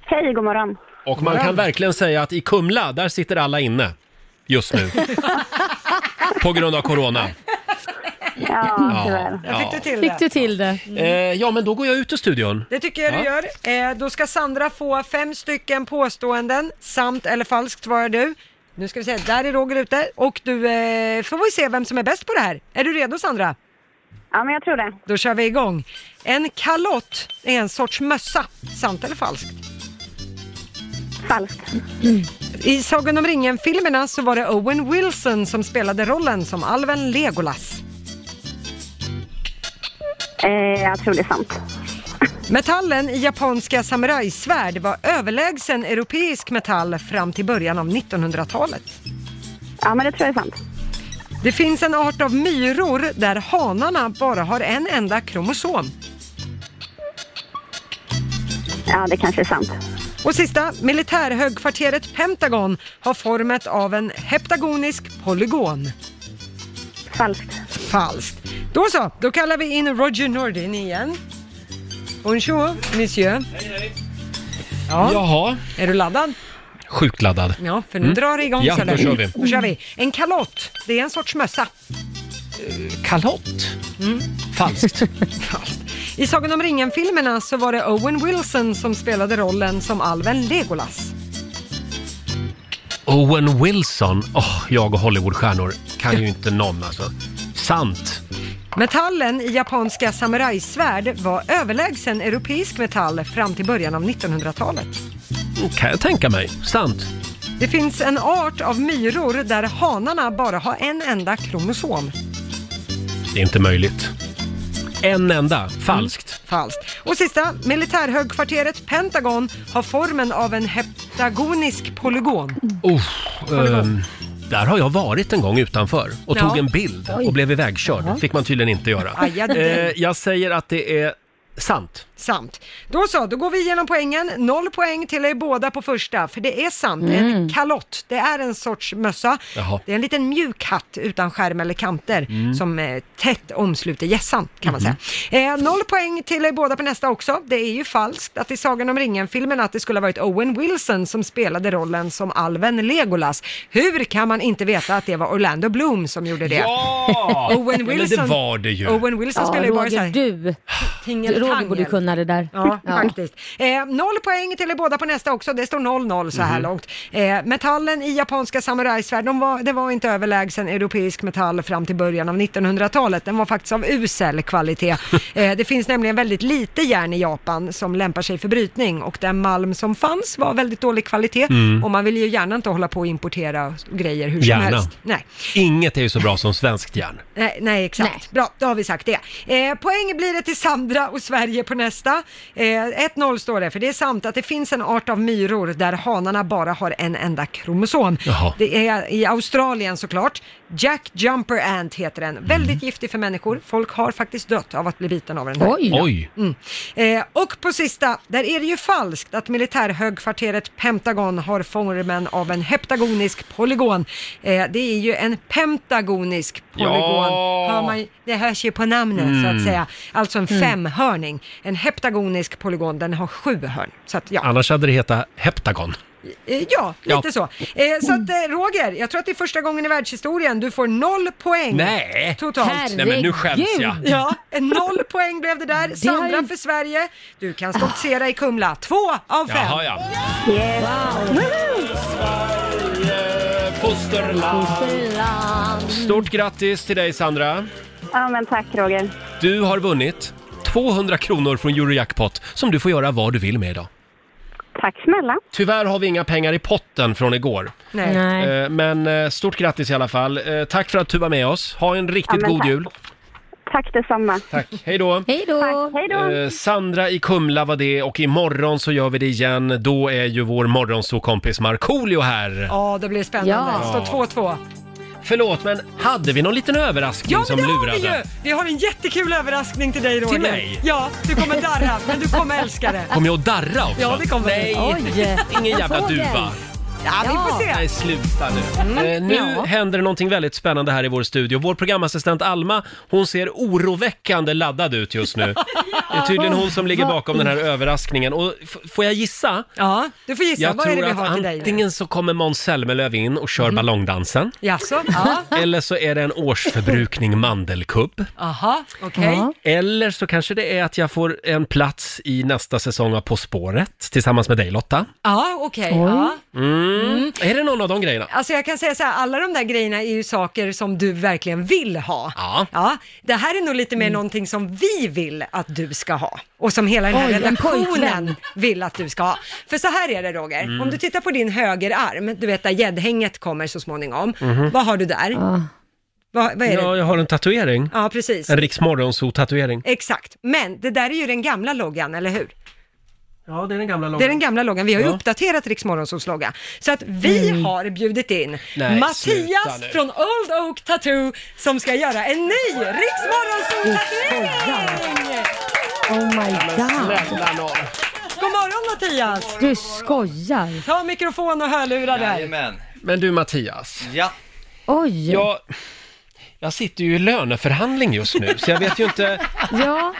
Hej, god morgon.
Och man kan verkligen säga att i Kumla, där sitter alla inne just nu. På grund av corona.
Ja, tyvärr.
Ja.
Fick du till
Fick
det?
du till det?
Eh, ja, men då går jag ut ur studion.
Det tycker jag du
Ja.
gör. Eh, då ska Sandra få fem stycken påståenden, sant eller falskt svarar du. Nu ska vi se, där är Roger ute och du eh, får vi se vem som är bäst på det här. Är du redo Sandra?
Ja, men jag tror det.
Då kör vi igång. En kalott är en sorts mössa, sant eller falskt?
Falskt.
I Sagan om ringen-filmerna så var det Owen Wilson som spelade rollen som alven Legolas.
Eh, jag tror det är sant.
Metallen i japanska samurajsvärd var överlägsen europeisk metall fram till början av 1900-talet.
Ja, men det tror jag är sant.
Det finns en art av myror där hanarna bara har en enda kromosom.
Ja, det kanske är sant.
Och sista, militärhögkvarteret Pentagon har formet av en heptagonisk polygon.
Falskt.
Falskt. Då så, då kallar vi in Roger Nordin igen. Bonjour, monsieur. Ja.
Jaha.
Är du laddad?
Sjukt laddad.
Ja, för nu
Mm.
drar det igång.
Ja,
så
då
där.
kör vi.
Då kör vi. En kalott, det är en sorts mössa.
Eh,
Mm.
Kalott? Falskt.
I Sagan om ringen-filmerna så var det Owen Wilson som spelade rollen som alven Legolas.
Owen Wilson. Åh, jag och Hollywoodstjärnor kan ju inte någon alltså. Sant.
Metallen i japanska samurajsvärd var överlägsen europeisk metall fram till början av 1900-talet.
Kan jag tänka mig. Sant.
Det finns en art av myror där hanarna bara har en enda kromosom.
Det är inte möjligt. En enda. Falskt.
Falskt. Och sista, militärhögkvarteret Pentagon har formen av en heptagonisk polygon.
Oh, ehm, där har jag varit en gång utanför och
Ja.
tog en bild och blev ivägkörd. fick man tydligen inte göra.
Aj, ja, du.
Eh, jag säger att det är sant.
Sant. Då så, då går vi igenom poängen. Noll poäng till er båda på första, för det är sant. En kalott, det är en sorts mössa.
Mm. Jaha. Mm.
Det är en liten mjuk hatt utan skärm eller kanter som eh, tätt omsluter gässan kan man säga. Eh, noll poäng till er båda på nästa också. Det är ju falskt att i Sagan om ringen-filmen att det skulle ha varit Owen Wilson som spelade rollen som alven Legolas. Hur kan man inte veta att det var Orlando Bloom som gjorde det?
Ja!
Owen
Men
Wilson,
det var det ju.
Owen Wilson
Ja,
spelar ju bara så
Roger,
här
du.
tingeltangel.
Roger borde kunna det där.
Ja, faktiskt. Eh, noll poäng till er båda på nästa också. Det står 0-0 så här
Mhm.
långt. Eh, metallen i japanska samurajsvärd, de var, det var inte överlägsen europeisk metall fram till början av 1900-talet. Den var faktiskt av usel kvalitet. eh, det finns nämligen väldigt lite järn i Japan som lämpar sig för brytning och den malm som fanns var väldigt dålig kvalitet
Mm.
och man vill ju gärna inte hålla på och importera grejer hur som
Gärna.
helst. Nej.
Inget är ju så bra som svenskt järn.
Nej, nej exakt. Bra, då har vi sagt det. Eh, poäng blir det till Sandra och Sverige Sverige på nästa. Eh, 1-0 står det, för det är sant att det finns en art av myror där hanarna bara har en enda kromosom.
Jaha.
Det är i Australien såklart. Jack Jumper Ant heter den. Väldigt giftig för människor. Folk har faktiskt dött av att bli biten av den här.
Oj. Oj.
Mm. Eh, och på sista, där är det ju falskt att militärhögkvarteret Pentagon har formen av en heptagonisk polygon. Eh, det är ju en pentagonisk polygon.
Ja.
Hör man, det hörs ju på namnet så
Mm.
att säga. Alltså en
Mm.
femhörning. En heptagonisk polygon, den har sju hörn. Så att, ja.
Annars hade det hetat heptagon.
Eh, Ja, lite
Ja.
så. Eh, så att eh, Roger, jag tror att det är första gången i världshistorien du får noll poäng
Nej.
totalt.
Nej, men nu skäms jag.
Herregud. Ja, eh, noll poäng blev det där. Sandra för Sverige. Du kan stoltsera i Kumla. Två av fem.
Jaha, ja.
Yes.
Stort grattis till dig Sandra.
Ja, men tack Roger.
Du har vunnit 200 kronor från Eurojackpot som du får göra vad du vill med idag.
Tack snälla.
Tyvärr har vi inga pengar i potten från igår.
Nej. Nej.
Eh, Men eh, stort grattis i alla fall. Eh, Tack för att du var med oss. Ha en
Ja,
riktigt
men
god
tack.
jul.
Tack detsamma.
Tack. Hej då.
Hej då.
Hej då.
Eh, Sandra i Kumla var det och imorgon så gör vi det igen. Då är ju vår morgonsokompis Markoolio här.
Ja, det blir spännande.
Ja.
Står 2-2.
Förlåt, men hade vi någon liten överraskning
Ja, men
som
det
lurade?
har vi ju! Vi har en jättekul överraskning till dig Roger.
mig?
Ja, du kommer darra, men du kommer älska det.
Kommer jag att darra också?
Ja, det kommer du.
Nej,
Oj.
ingen jävla
Fågel.
duva.
Ja, vi får se.
Nej, sluta nu.
Mm.
Eh, nu
Ja.
händer det någonting väldigt spännande här i vår studio. Vår programassistent Alma, hon ser oroväckande laddad ut just nu. Det är tydligen hon som ligger
Vad
bakom den här överraskningen. Och f- får jag gissa?
Ja, du får gissa.
Jag
Vad är det
tror
vi
att
har till dig? nu? Mm.
antingen så kommer Måns Zelmerlöw in och kör ballongdansen.
Jaså? Ja.
Eller så är det en årsförbrukning mandelkubb.
Aha, okej.
Eller så kanske det är att jag får en plats i nästa säsong av På spåret tillsammans med dig Lotta.
Ja, okej. Ja.
Mm.
Mm.
Är det någon av de grejerna?
Alltså jag kan säga så här, alla de där grejerna är ju saker som du verkligen vill ha.
Ja.
det här är nog lite
Mm.
mer någonting som vi vill att du ska ha. Och som hela den här
Oj, en
redaktionen
pojkvän.
vill att du ska ha. För så här är det Roger,
Mm.
om du tittar på din högerarm, du vet där gäddhänget kommer så småningom.
Mhm.
Vad har du där? Vad, vad är det?
Ja, jag har en tatuering.
Ja, precis.
En Riks Morgonzoo-tatuering.
Exakt, men det där är ju den gamla loggan, eller hur?
Ja, det är den gamla
Det är den gamla loggan, vi har ju
Ja. Mm.
uppdaterat Rix Morgonzoos logga. Så att vi har bjudit in
Nej, sluta
Mattias
nu.
från Old Oak Tattoo som ska göra en ny Rix Morgonzoo-tatuering!
Oh my god.
God morgon Mattias!
Du skojar.
Ta mikrofon och hörlurar där.
Men du Mattias.
Ja.
Oj.
Jag, jag sitter ju i löneförhandling just nu, så jag vet ju inte
Ja.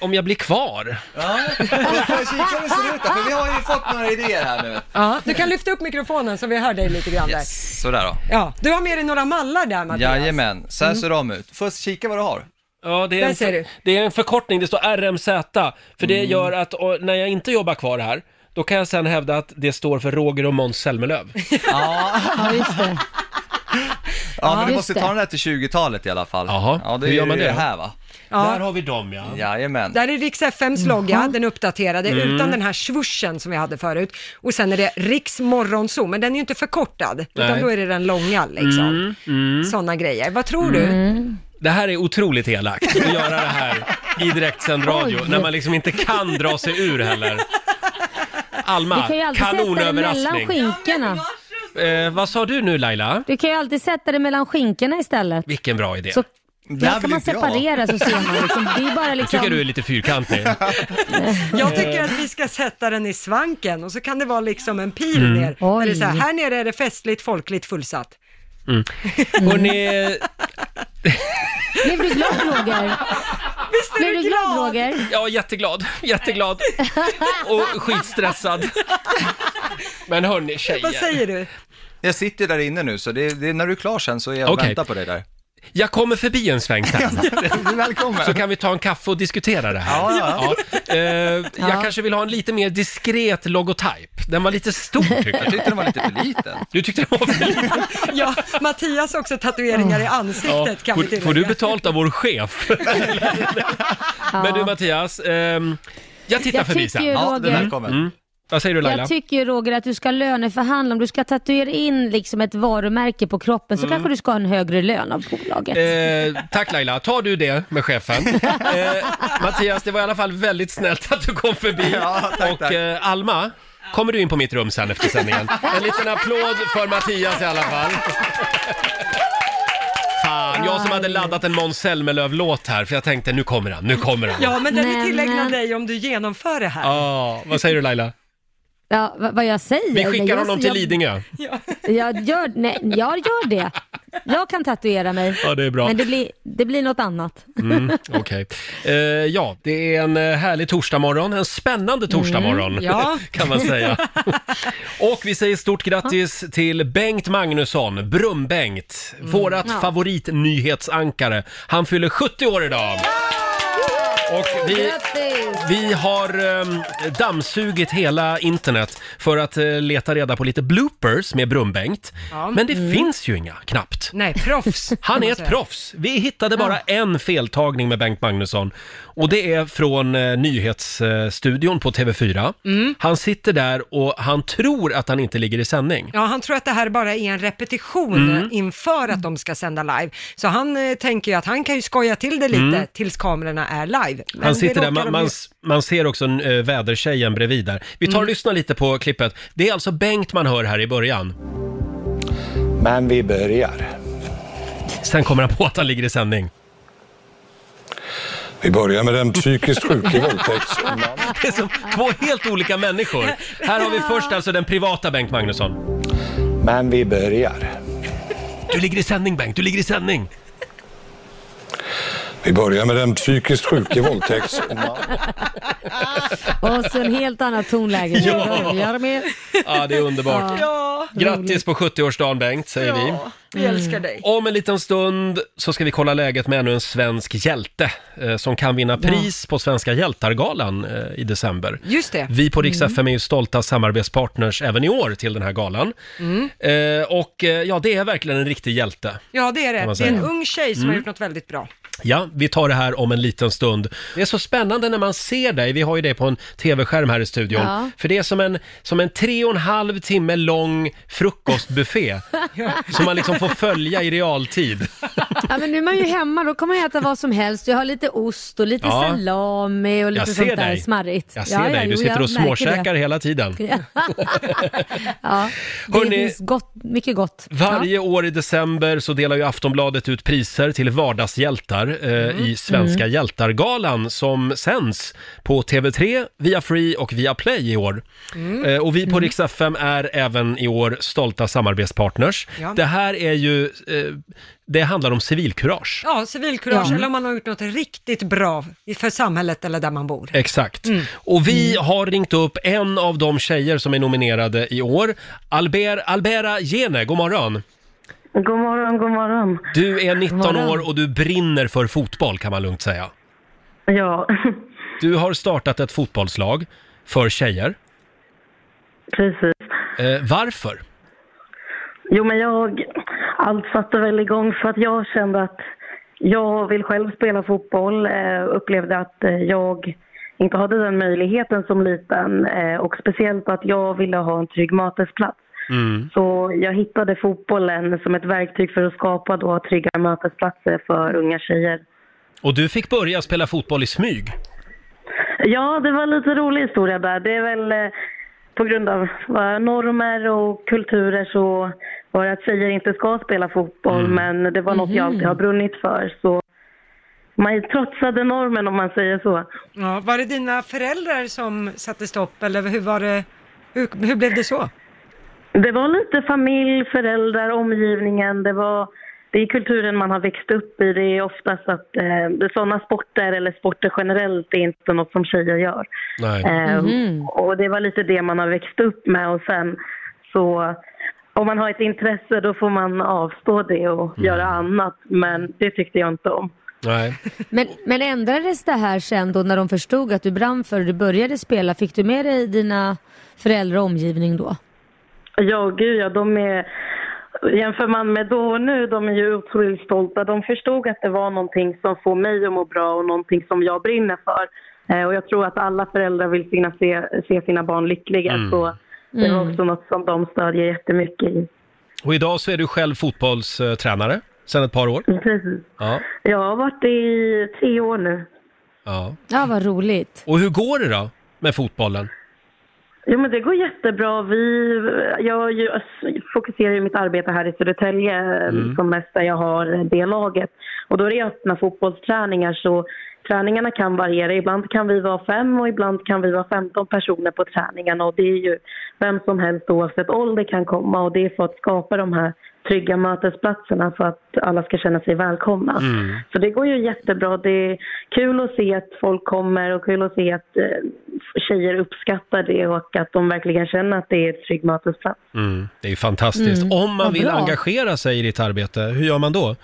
om jag blir kvar.
Ja, vi får kika hur det ser ut då, för vi har ju fått några idéer här nu.
Ja, du kan lyfta upp mikrofonen så vi hör dig lite grann där.
Sådär då.
Ja, du har med dig några mallar där Mattias.
Jajamän,
alltså-
så
Mm.
här ser de ut. Får jag kika vad du har?
Ja, det är,
Där
en,
ser
för,
du. Mm.
det är en förkortning, det står RMZ, för det gör att och, när jag inte jobbar kvar här, då kan jag sen hävda att det står för Roger och Måns Zelmerlöw.
Ja, just det.
Ja, men du
just
måste
det.
ta den här till 20-talet i alla fall. Jaha, ja, det
hur
är
gör man
ju
det då?
här va?
Ja.
Där har vi dem ja.
Jajamän.
Där är Rix FMs
Mm.
logga, den uppdaterade,
Mm.
utan den här svursen som vi hade förut. Och sen är det Rix Morgonzoo, men den är ju inte förkortad, utan
Nej.
då är det den långa liksom.
Mm, mm.
Sådana grejer. Vad tror du?
Det här är otroligt elakt, att göra det här i direktsänd radio,
Oj.
när man liksom inte kan dra sig ur heller.
Du
Alma,
kan ju alltid sätta det mellan
kanonöverraskning.
skinkorna.
Eh, vad sa du nu Laila?
Du kan ju alltid sätta det mellan skinkorna istället.
Vilken bra idé.
Så
Det
där
här
kan
vill
man
inte jag.
separera så ser man liksom. Det är bara
Jag
liksom...
tycker du är lite fyrkantig.
Jag tycker att vi ska sätta den i svanken och så kan det vara liksom en pil
Mm.
ner. Där det är så här,
Oj.
här nere är det festligt, folkligt, fullsatt.
Mm. Hörrni,
Blev du glad Roger?
Visst är
Blev du glad Roger?
jag är jätteglad, jätteglad och skitstressad. Men hörni tjejer.
du?
Jag sitter där inne nu, så det är, det är när du är klar sen så är jag och
Okej.
väntar på dig där.
Jag kommer förbi en sväng sen.
Välkommen.
Så kan vi ta en kaffe och diskutera det här.
Ja,
Ja. Eh, jag
Ja.
kanske vill ha en lite mer diskret logotyp. Den var lite stor tycker jag.
Jag tyckte den var lite för liten.
Du tyckte den var för liten?
Ja, Mattias har också tatueringar i ansiktet kan vi
Får,
tillägga.
får du betalt av vår chef? Men du Mattias, ehm, jag tittar
Jag
förbi
tycker
sen.
ju, Ja, Roger- du är välkommen.
Mm. Vad säger du Laila?
Jag tycker ju Roger att du ska löneförhandla. Om du ska tatuera in liksom ett varumärke på kroppen så
Mm.
kanske du ska ha en högre lön av bolaget.
Eh, tack Laila, tar du det med chefen? Eh, Mattias, det var i alla fall väldigt snällt att du kom förbi. och Eh, Alma, kommer du in på mitt rum sen efter sändningen? En liten applåd för Mattias i alla fall. Fan, jag som hade laddat en Måns Zelmerlöw-låt här, för jag tänkte nu kommer han, nu kommer han.
Ja, men den är
Nej,
tillägnad
men-
dig om du genomför det här.
Ja, vad säger du Laila?
Ja, vad, vad jag säger?
Vi
Nej,
skickar
jag,
honom till
jag,
Lidingö.
Jag gör, nej, jag gör det. Jag kan tatuera mig.
Ja, det är bra.
Men det blir, det blir något annat.
Mm, Okej. Eh, ja, det är en eh, härlig torsdagmorgon, en spännande torsdagmorgon
Mm, ja.
kan man säga. Och vi säger stort grattis till Bengt Magnusson, Brum-Bengt,
Mm.
vårat
Ja.
favoritnyhetsankare. Han fyller 70 år idag. Och vi, vi har eh, dammsugit hela internet för att eh, leta reda på lite bloopers med Brum-Bengt.
Ja.
Men det
Mm.
finns ju inga, knappt.
Nej, proffs.
Han
kan
är
man
ett
säga.
proffs. Vi hittade bara en feltagning med Bengt Magnusson och det är från eh, nyhetsstudion på TV4.
Mm.
Han sitter där och han tror att han inte ligger i sändning.
Ja, han tror att det här bara är en repetition
Mm.
inför att de ska sända live. Så han eh, tänker ju att han kan ju skoja till det lite
Mm.
tills kamerorna är live. Men
Han
det
sitter där,
råkar
man,
de
man,
ju-
s- man ser också eh, vädertjejen bredvid där. Vi tar och
Mm.
lyssnar lite på klippet. Det är alltså Bengt man hör här i början.
Men vi börjar.
Sen kommer han på att han ligger i sändning.
Vi börjar med den psykiskt sjuke våldtäkts...
Det är som två helt olika människor. Här har vi först alltså den privata Bengt Magnusson.
Men vi börjar.
Du ligger i sändning Bengt, du ligger i sändning.
Vi börjar med den psykiskt sjuke våldtäkts...
Och så en helt annat tonläge.
Ja.
Vi börjar med...
Ja, det är underbart.
Ja.
Grattis på 70-årsdagen Bengt, säger vi.
Vi älskar dig.
Om en liten stund så ska vi kolla läget med ännu en svensk hjälte eh, som kan vinna
Ja.
pris på Svenska hjältargalan eh, i december.
Just det.
Vi på Rix
Mm.
FM är ju stolta samarbetspartners även i år till den här galan.
Mm.
Eh, och eh, ja, det är verkligen en riktig hjälte.
Ja, det är
Kan man
det. Det är en
säga.
ung tjej som
Mm.
har gjort något väldigt bra.
Ja, vi tar det här om en liten stund. Det är så spännande när man ser dig, vi har ju det på en tv-skärm här i studion.
Ja.
För det är som en, som en tre och en halv timme lång frukostbuffé som man liksom får följa i realtid.
Ja, men nu är man ju hemma, då kommer jag äta vad som helst. Jag har lite ost och lite
Ja.
salami och lite
Jag
sånt
ser
där
dig.
smarrigt.
Jag ser
Ja, ja,
dig, du
jo,
sitter
jag
och
märker
småkäkar
det.
hela tiden.
Ja, ja. det
Hörrni,
finns gott, mycket gott.
Varje år i december så delar ju Aftonbladet ut priser till vardagshjältar eh, i Svenska
Mm.
hjältargalan som sänds på TV3, via Free och via Play i år. Eh, och vi på Rix FM är även i år stolta samarbetspartners.
Ja.
Det här är ju, eh, det handlar om civilkurage.
Ja, civilkurage,
Ja.
eller om man har gjort något riktigt bra i- för samhället eller där man bor.
Eh. Exakt. Och vi har ringt upp en av de tjejer som är nominerade i år. Albert, Albera Jene, god morgon.
God morgon, god morgon.
Du är 19
morgon.
år och du brinner för fotboll kan man lugnt säga.
Ja,
Du har startat ett fotbollslag för tjejer.
precis.
Eh, varför?
Jo, men jag... Allt satte väl igång för att jag kände att jag vill själv spela fotboll. Eh, upplevde att eh, jag inte hade den möjligheten som liten eh, och speciellt att jag ville ha en trygg mötesplats. Så jag hittade fotbollen som ett verktyg för att skapa då trygga mötesplatser för unga tjejer.
Och du fick börja spela fotboll i smyg.
Ja, det var lite rolig historia där. Det är väl eh, på grund av eh, normer och kulturer så var det att tjejer inte ska spela fotboll, men det var något jag alltid har brunnit för. Så man trotsade normen om man säger så.
Ja, var det dina föräldrar som satte stopp eller hur var det? Hur, hur blev det så?
Det var lite familj, föräldrar, omgivningen. Det, var, det är kulturen man har växt upp i. Det är oftast att eh, det är sådana sporter, eller sporter generellt, det är inte något som tjejer gör.
Nej.
Eh, Och det var lite det man har växt upp med och sen så om man har ett intresse då får man avstå det och göra annat men det tyckte jag inte om.
Nej.
Men, men ändrades det här sen då när de förstod att du brann för det, du började spela? Fick du med dig dina föräldrar och omgivning då?
Ja, gud ja, de är... Jämför man med då och nu, de är ju otroligt stolta. De förstod att det var någonting som får mig att må bra och någonting som jag brinner för. Eh, Och jag tror att alla föräldrar vill finna, se, se sina barn lyckliga.
Mm.
Så det var
Mm.
också något som de stödjer jättemycket i.
Och idag så är du själv fotbollstränare sedan ett par år.
Mm. Precis.
Ja.
Jag har varit i tre år nu.
ja.
Ja, vad roligt.
Och hur går det då med fotbollen?
Jo men det går jättebra. Vi, jag, ju- fokuserar ju mitt arbete här i Södertälje
Mm.
som mest där jag har det laget. Och då är det öppna fotbollsträningar så träningarna kan variera. Ibland kan vi vara fem och ibland kan vi vara 15 personer på träningarna och det är ju vem som helst oavsett ålder kan komma och det är för att skapa de här trygga mötesplatserna för att alla ska känna sig välkomna. Så det går ju jättebra. Det är kul att se att folk kommer och kul att se att eh, tjejer uppskattar det och att de verkligen känner att det är ett trygg mötesplats.
Mm. Det är ju fantastiskt.
Mm,
Om man
vad
vill
bra.
engagera sig i ditt arbete, hur gör man då?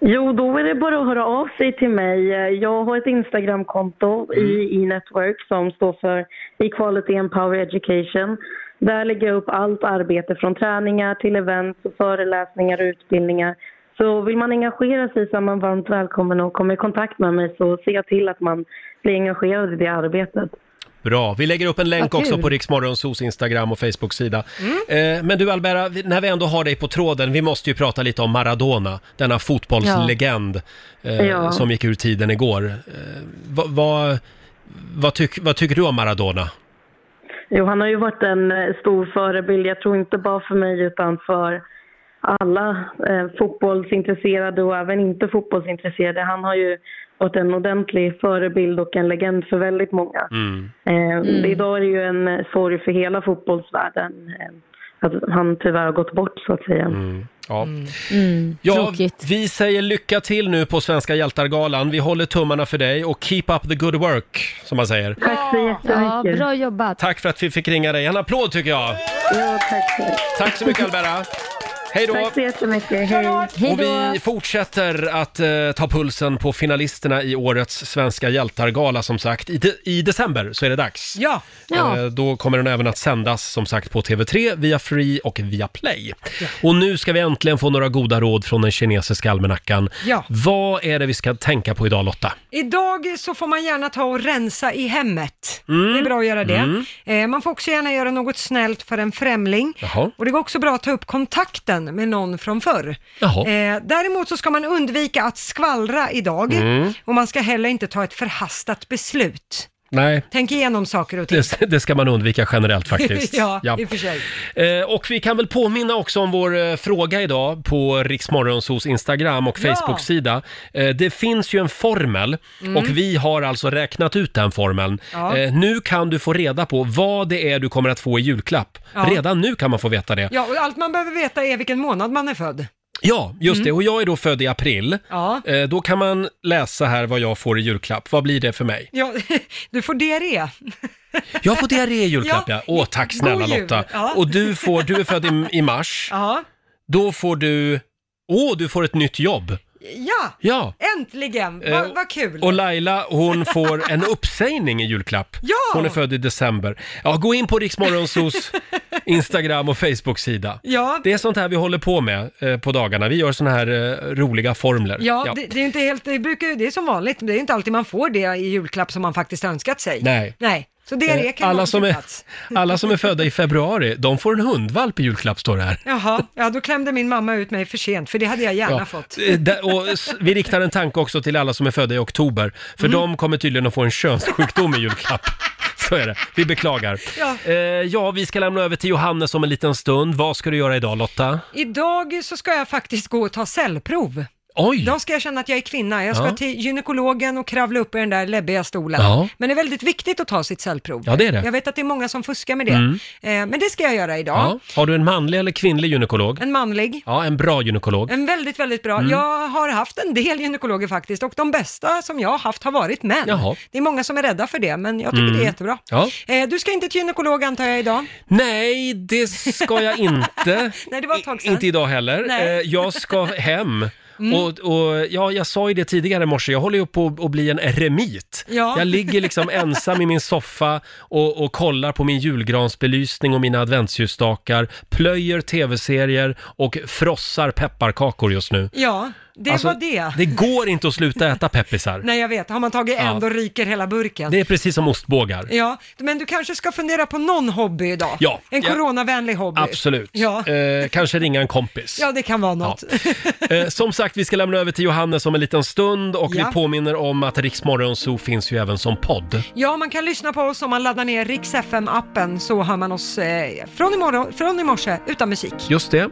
Jo, då är det bara att höra av sig till mig. Jag har ett Instagramkonto i e-network som står för Equality and Power Education. Där lägger jag upp allt arbete från träningar till events, och föreläsningar och utbildningar. Så vill man engagera sig så är man varmt välkommen och komma i kontakt med mig så ser jag till att man blir engagerad i det arbetet.
Bra, vi lägger upp en länk
Vad
också
kul. Mm.
på Riksmorgonsos Instagram och Facebook-sida. Eh, men du Albera, vi- när vi ändå har dig på tråden, vi måste ju prata lite om Maradona, denna fotbollslegend eh,
Ja.
som gick ur tiden igår. Eh, vad, vad, vad, tyck, vad tycker du om Maradona?
Jo, han har ju varit en eh, stor förebild. Jag tror inte bara för mig utan för alla eh, fotbollsintresserade och även inte fotbollsintresserade. Han har ju varit en ordentlig förebild och en legend för väldigt många. Eh,
Mm.
Idag är det ju en eh, sorg för hela fotbollsvärlden eh, att han tyvärr har gått bort så att säga.
Ja.
Mm.
Mm.
Ja, vi säger lycka till nu på Svenska hjältargalan. Vi håller tummarna för dig och keep up the good work, som man säger.
Tack så jättemycket.
Ja, bra jobbat.
Tack för att vi fick ringa dig. En applåd tycker jag!
Ja, tack.
Tack så mycket Albera! Hej då!
Tack så jättemycket. Hej.
Och vi fortsätter att eh, ta pulsen på finalisterna i årets Svenska hjältargala som sagt. I, de- I december så är det dags.
Ja.
Ja.
Eh, då kommer den även att sändas som sagt på TV3, via Free och via Play. Och nu ska vi äntligen få några goda råd från den kinesiska almanackan.
Ja.
Vad är det vi ska tänka på idag Lotta?
Idag så får man gärna ta och rensa i hemmet. Det är bra att göra det.
Mm.
Eh, man får också gärna göra något snällt för en främling.
Jaha.
Och det går också bra att ta upp kontakten med någon från förr.
Jaha.
Eh, däremot så ska man undvika att skvallra idag
Mm.
och man ska heller inte ta ett förhastat beslut.
Nej,
Tänk igenom saker och ting.
det, det ska man undvika generellt faktiskt.
ja, i och för sig.
Eh, Och vi kan väl påminna också om vår eh, fråga idag på Riksmorgonsos Instagram och
Ja.
Facebook-sida. Eh, Det finns ju en formel
Mm.
och vi har alltså räknat ut den formeln.
Ja.
Eh, Nu kan du få reda på vad det är du kommer att få i julklapp.
Ja.
Redan nu kan man få veta det. Ja,
Ja, och allt man behöver veta är vilken månad man är född.
just
Mm.
det. Och jag är då född i april.
Ja.
Eh, Då kan man läsa här vad jag får i julklapp. Vad blir det för mig?
Ja, du får diarré.
Jag får diarré i julklapp, ja.
Ja.
Åh, tack snälla
God jul.
Lotta.
Ja.
Och du, får, du är född i, i mars.
Ja.
Då får du... Åh, du får ett nytt jobb!
Ja,
Ja.
äntligen! Va-
Eh,
Vad kul!
Och Laila, hon får en uppsägning i julklapp.
Ja!
Hon är född i december. Ja, gå in på Riksmorgonsos Instagram och Facebook-sida.
Ja.
Det är sånt här vi håller på med eh, på dagarna. Vi gör såna här eh, roliga formler.
Ja, Det, det är inte helt, det, brukar, ju- det är som vanligt, det är inte alltid man får det i julklapp som man faktiskt önskat sig.
Nej.
Nej. Så diarré
Eh,
kan
alla,
vara
som
på
är,
plats.
alla som är födda i februari, de får en hundvalp i julklapp, står det här.
Jaha, ja då klämde min mamma ut mig för sent, för det hade jag gärna
Ja,
fått.
eh, där- Och s- vi riktar en tanke också till alla som är födda i oktober, för
Mm.
de kommer tydligen att få en könssjukdom i julklapp. Så är det. Vi beklagar.
Ja.
Eh, ja, vi ska lämna över till Johannes om en liten stund. Vad ska du göra idag Lotta?
Idag så ska jag faktiskt gå och ta cellprov.
Oj!
Då ska jag känna att jag är kvinna. Jag ska
Ja.
till gynekologen och kravla upp i den där läbbiga stolen.
Ja.
Men det är väldigt viktigt att ta sitt cellprov.
Ja, det är det.
Jag vet att det är många som fuskar med det.
Mm.
Eh, men det ska jag göra idag.
Ja. Har du en manlig eller kvinnlig gynekolog?
En manlig.
Ja, en bra gynekolog.
En väldigt, väldigt bra.
Mm.
Jag har haft en del gynekologer faktiskt och de bästa som jag har haft har varit män.
Jaha.
Det är många som är rädda för det, men jag tycker
Mm.
det är jättebra.
Ja.
Eh, du ska inte till gynekolog antar jag idag?
Nej, det ska jag inte.
Nej, det var ett tag sedan.
Inte idag heller.
Nej.
Eh, Jag ska hem.
Mm.
Och, och ja, jag sa ju det tidigare i morse, jag håller ju på att bli en eremit.
Ja.
Jag ligger liksom ensam i min soffa och, och kollar på min julgransbelysning och mina adventsljusstakar, plöjer tv-serier och frossar pepparkakor just nu.
Ja, det var det.
Alltså, Det går inte att sluta äta peppisar.
Nej, jag vet. Har man tagit en
Ja.
då ryker hela burken.
Det är precis som ostbågar.
Ja, men du kanske ska fundera på någon hobby idag?
Ja.
En
Ja.
coronavänlig hobby?
Absolut.
Ja.
Eh, kanske ringa en kompis.
Ja, det kan vara något.
Eh, som sagt, vi ska lämna över till Johannes om en liten stund och
Ja.
vi påminner om att Riksmorgon Zoo finns ju även som podd.
Ja, man kan lyssna på oss om man laddar ner Rix FM-appen så hör man oss eh, från, imorgon, från i morse utan musik.
Just det.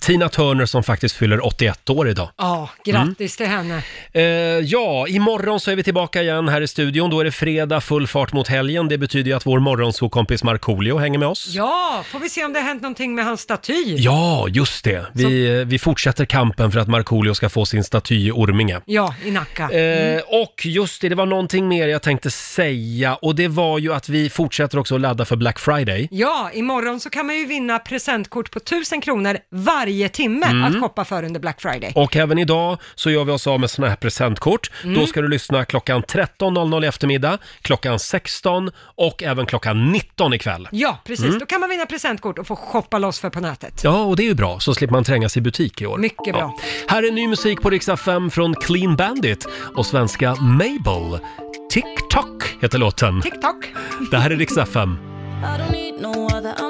Tina Turner som faktiskt fyller 81 år idag.
Ja, grattis till henne.
Eh, ja, imorgon så är vi tillbaka igen här i studion. Då är det fredag, full fart mot helgen. Det betyder ju att vår morgonsokompis Markoolio hänger med oss.
Ja, får vi se om det har hänt någonting med hans staty?
Ja, just det. Vi, eh, vi fortsätter kampen för att Markoolio ska få sin staty i Orminge.
Ja, i Nacka.
Eh, och just det, det var någonting mer jag tänkte säga och det var ju att vi fortsätter också att ladda för Black Friday.
Ja, imorgon så kan man ju vinna presentkort på 1000 kronor varje timme
Mm.
att shoppa för under Black Friday.
Och även idag så gör vi oss av med såna här presentkort.
Mm.
Då ska du lyssna klockan 13.00 i eftermiddag, klockan 16 och även klockan 19 ikväll.
Ja, precis.
Mm.
Då kan man vinna presentkort och få shoppa loss för på nätet.
Ja, och det är ju bra, så slipper man trängas i butik i år.
Mycket bra.
Ja. Här är ny musik på Rix FM från Clean Bandit och svenska Mabel. Tick-tock heter låten.
TikTok.
Det här är Rix FM.
I don't need no other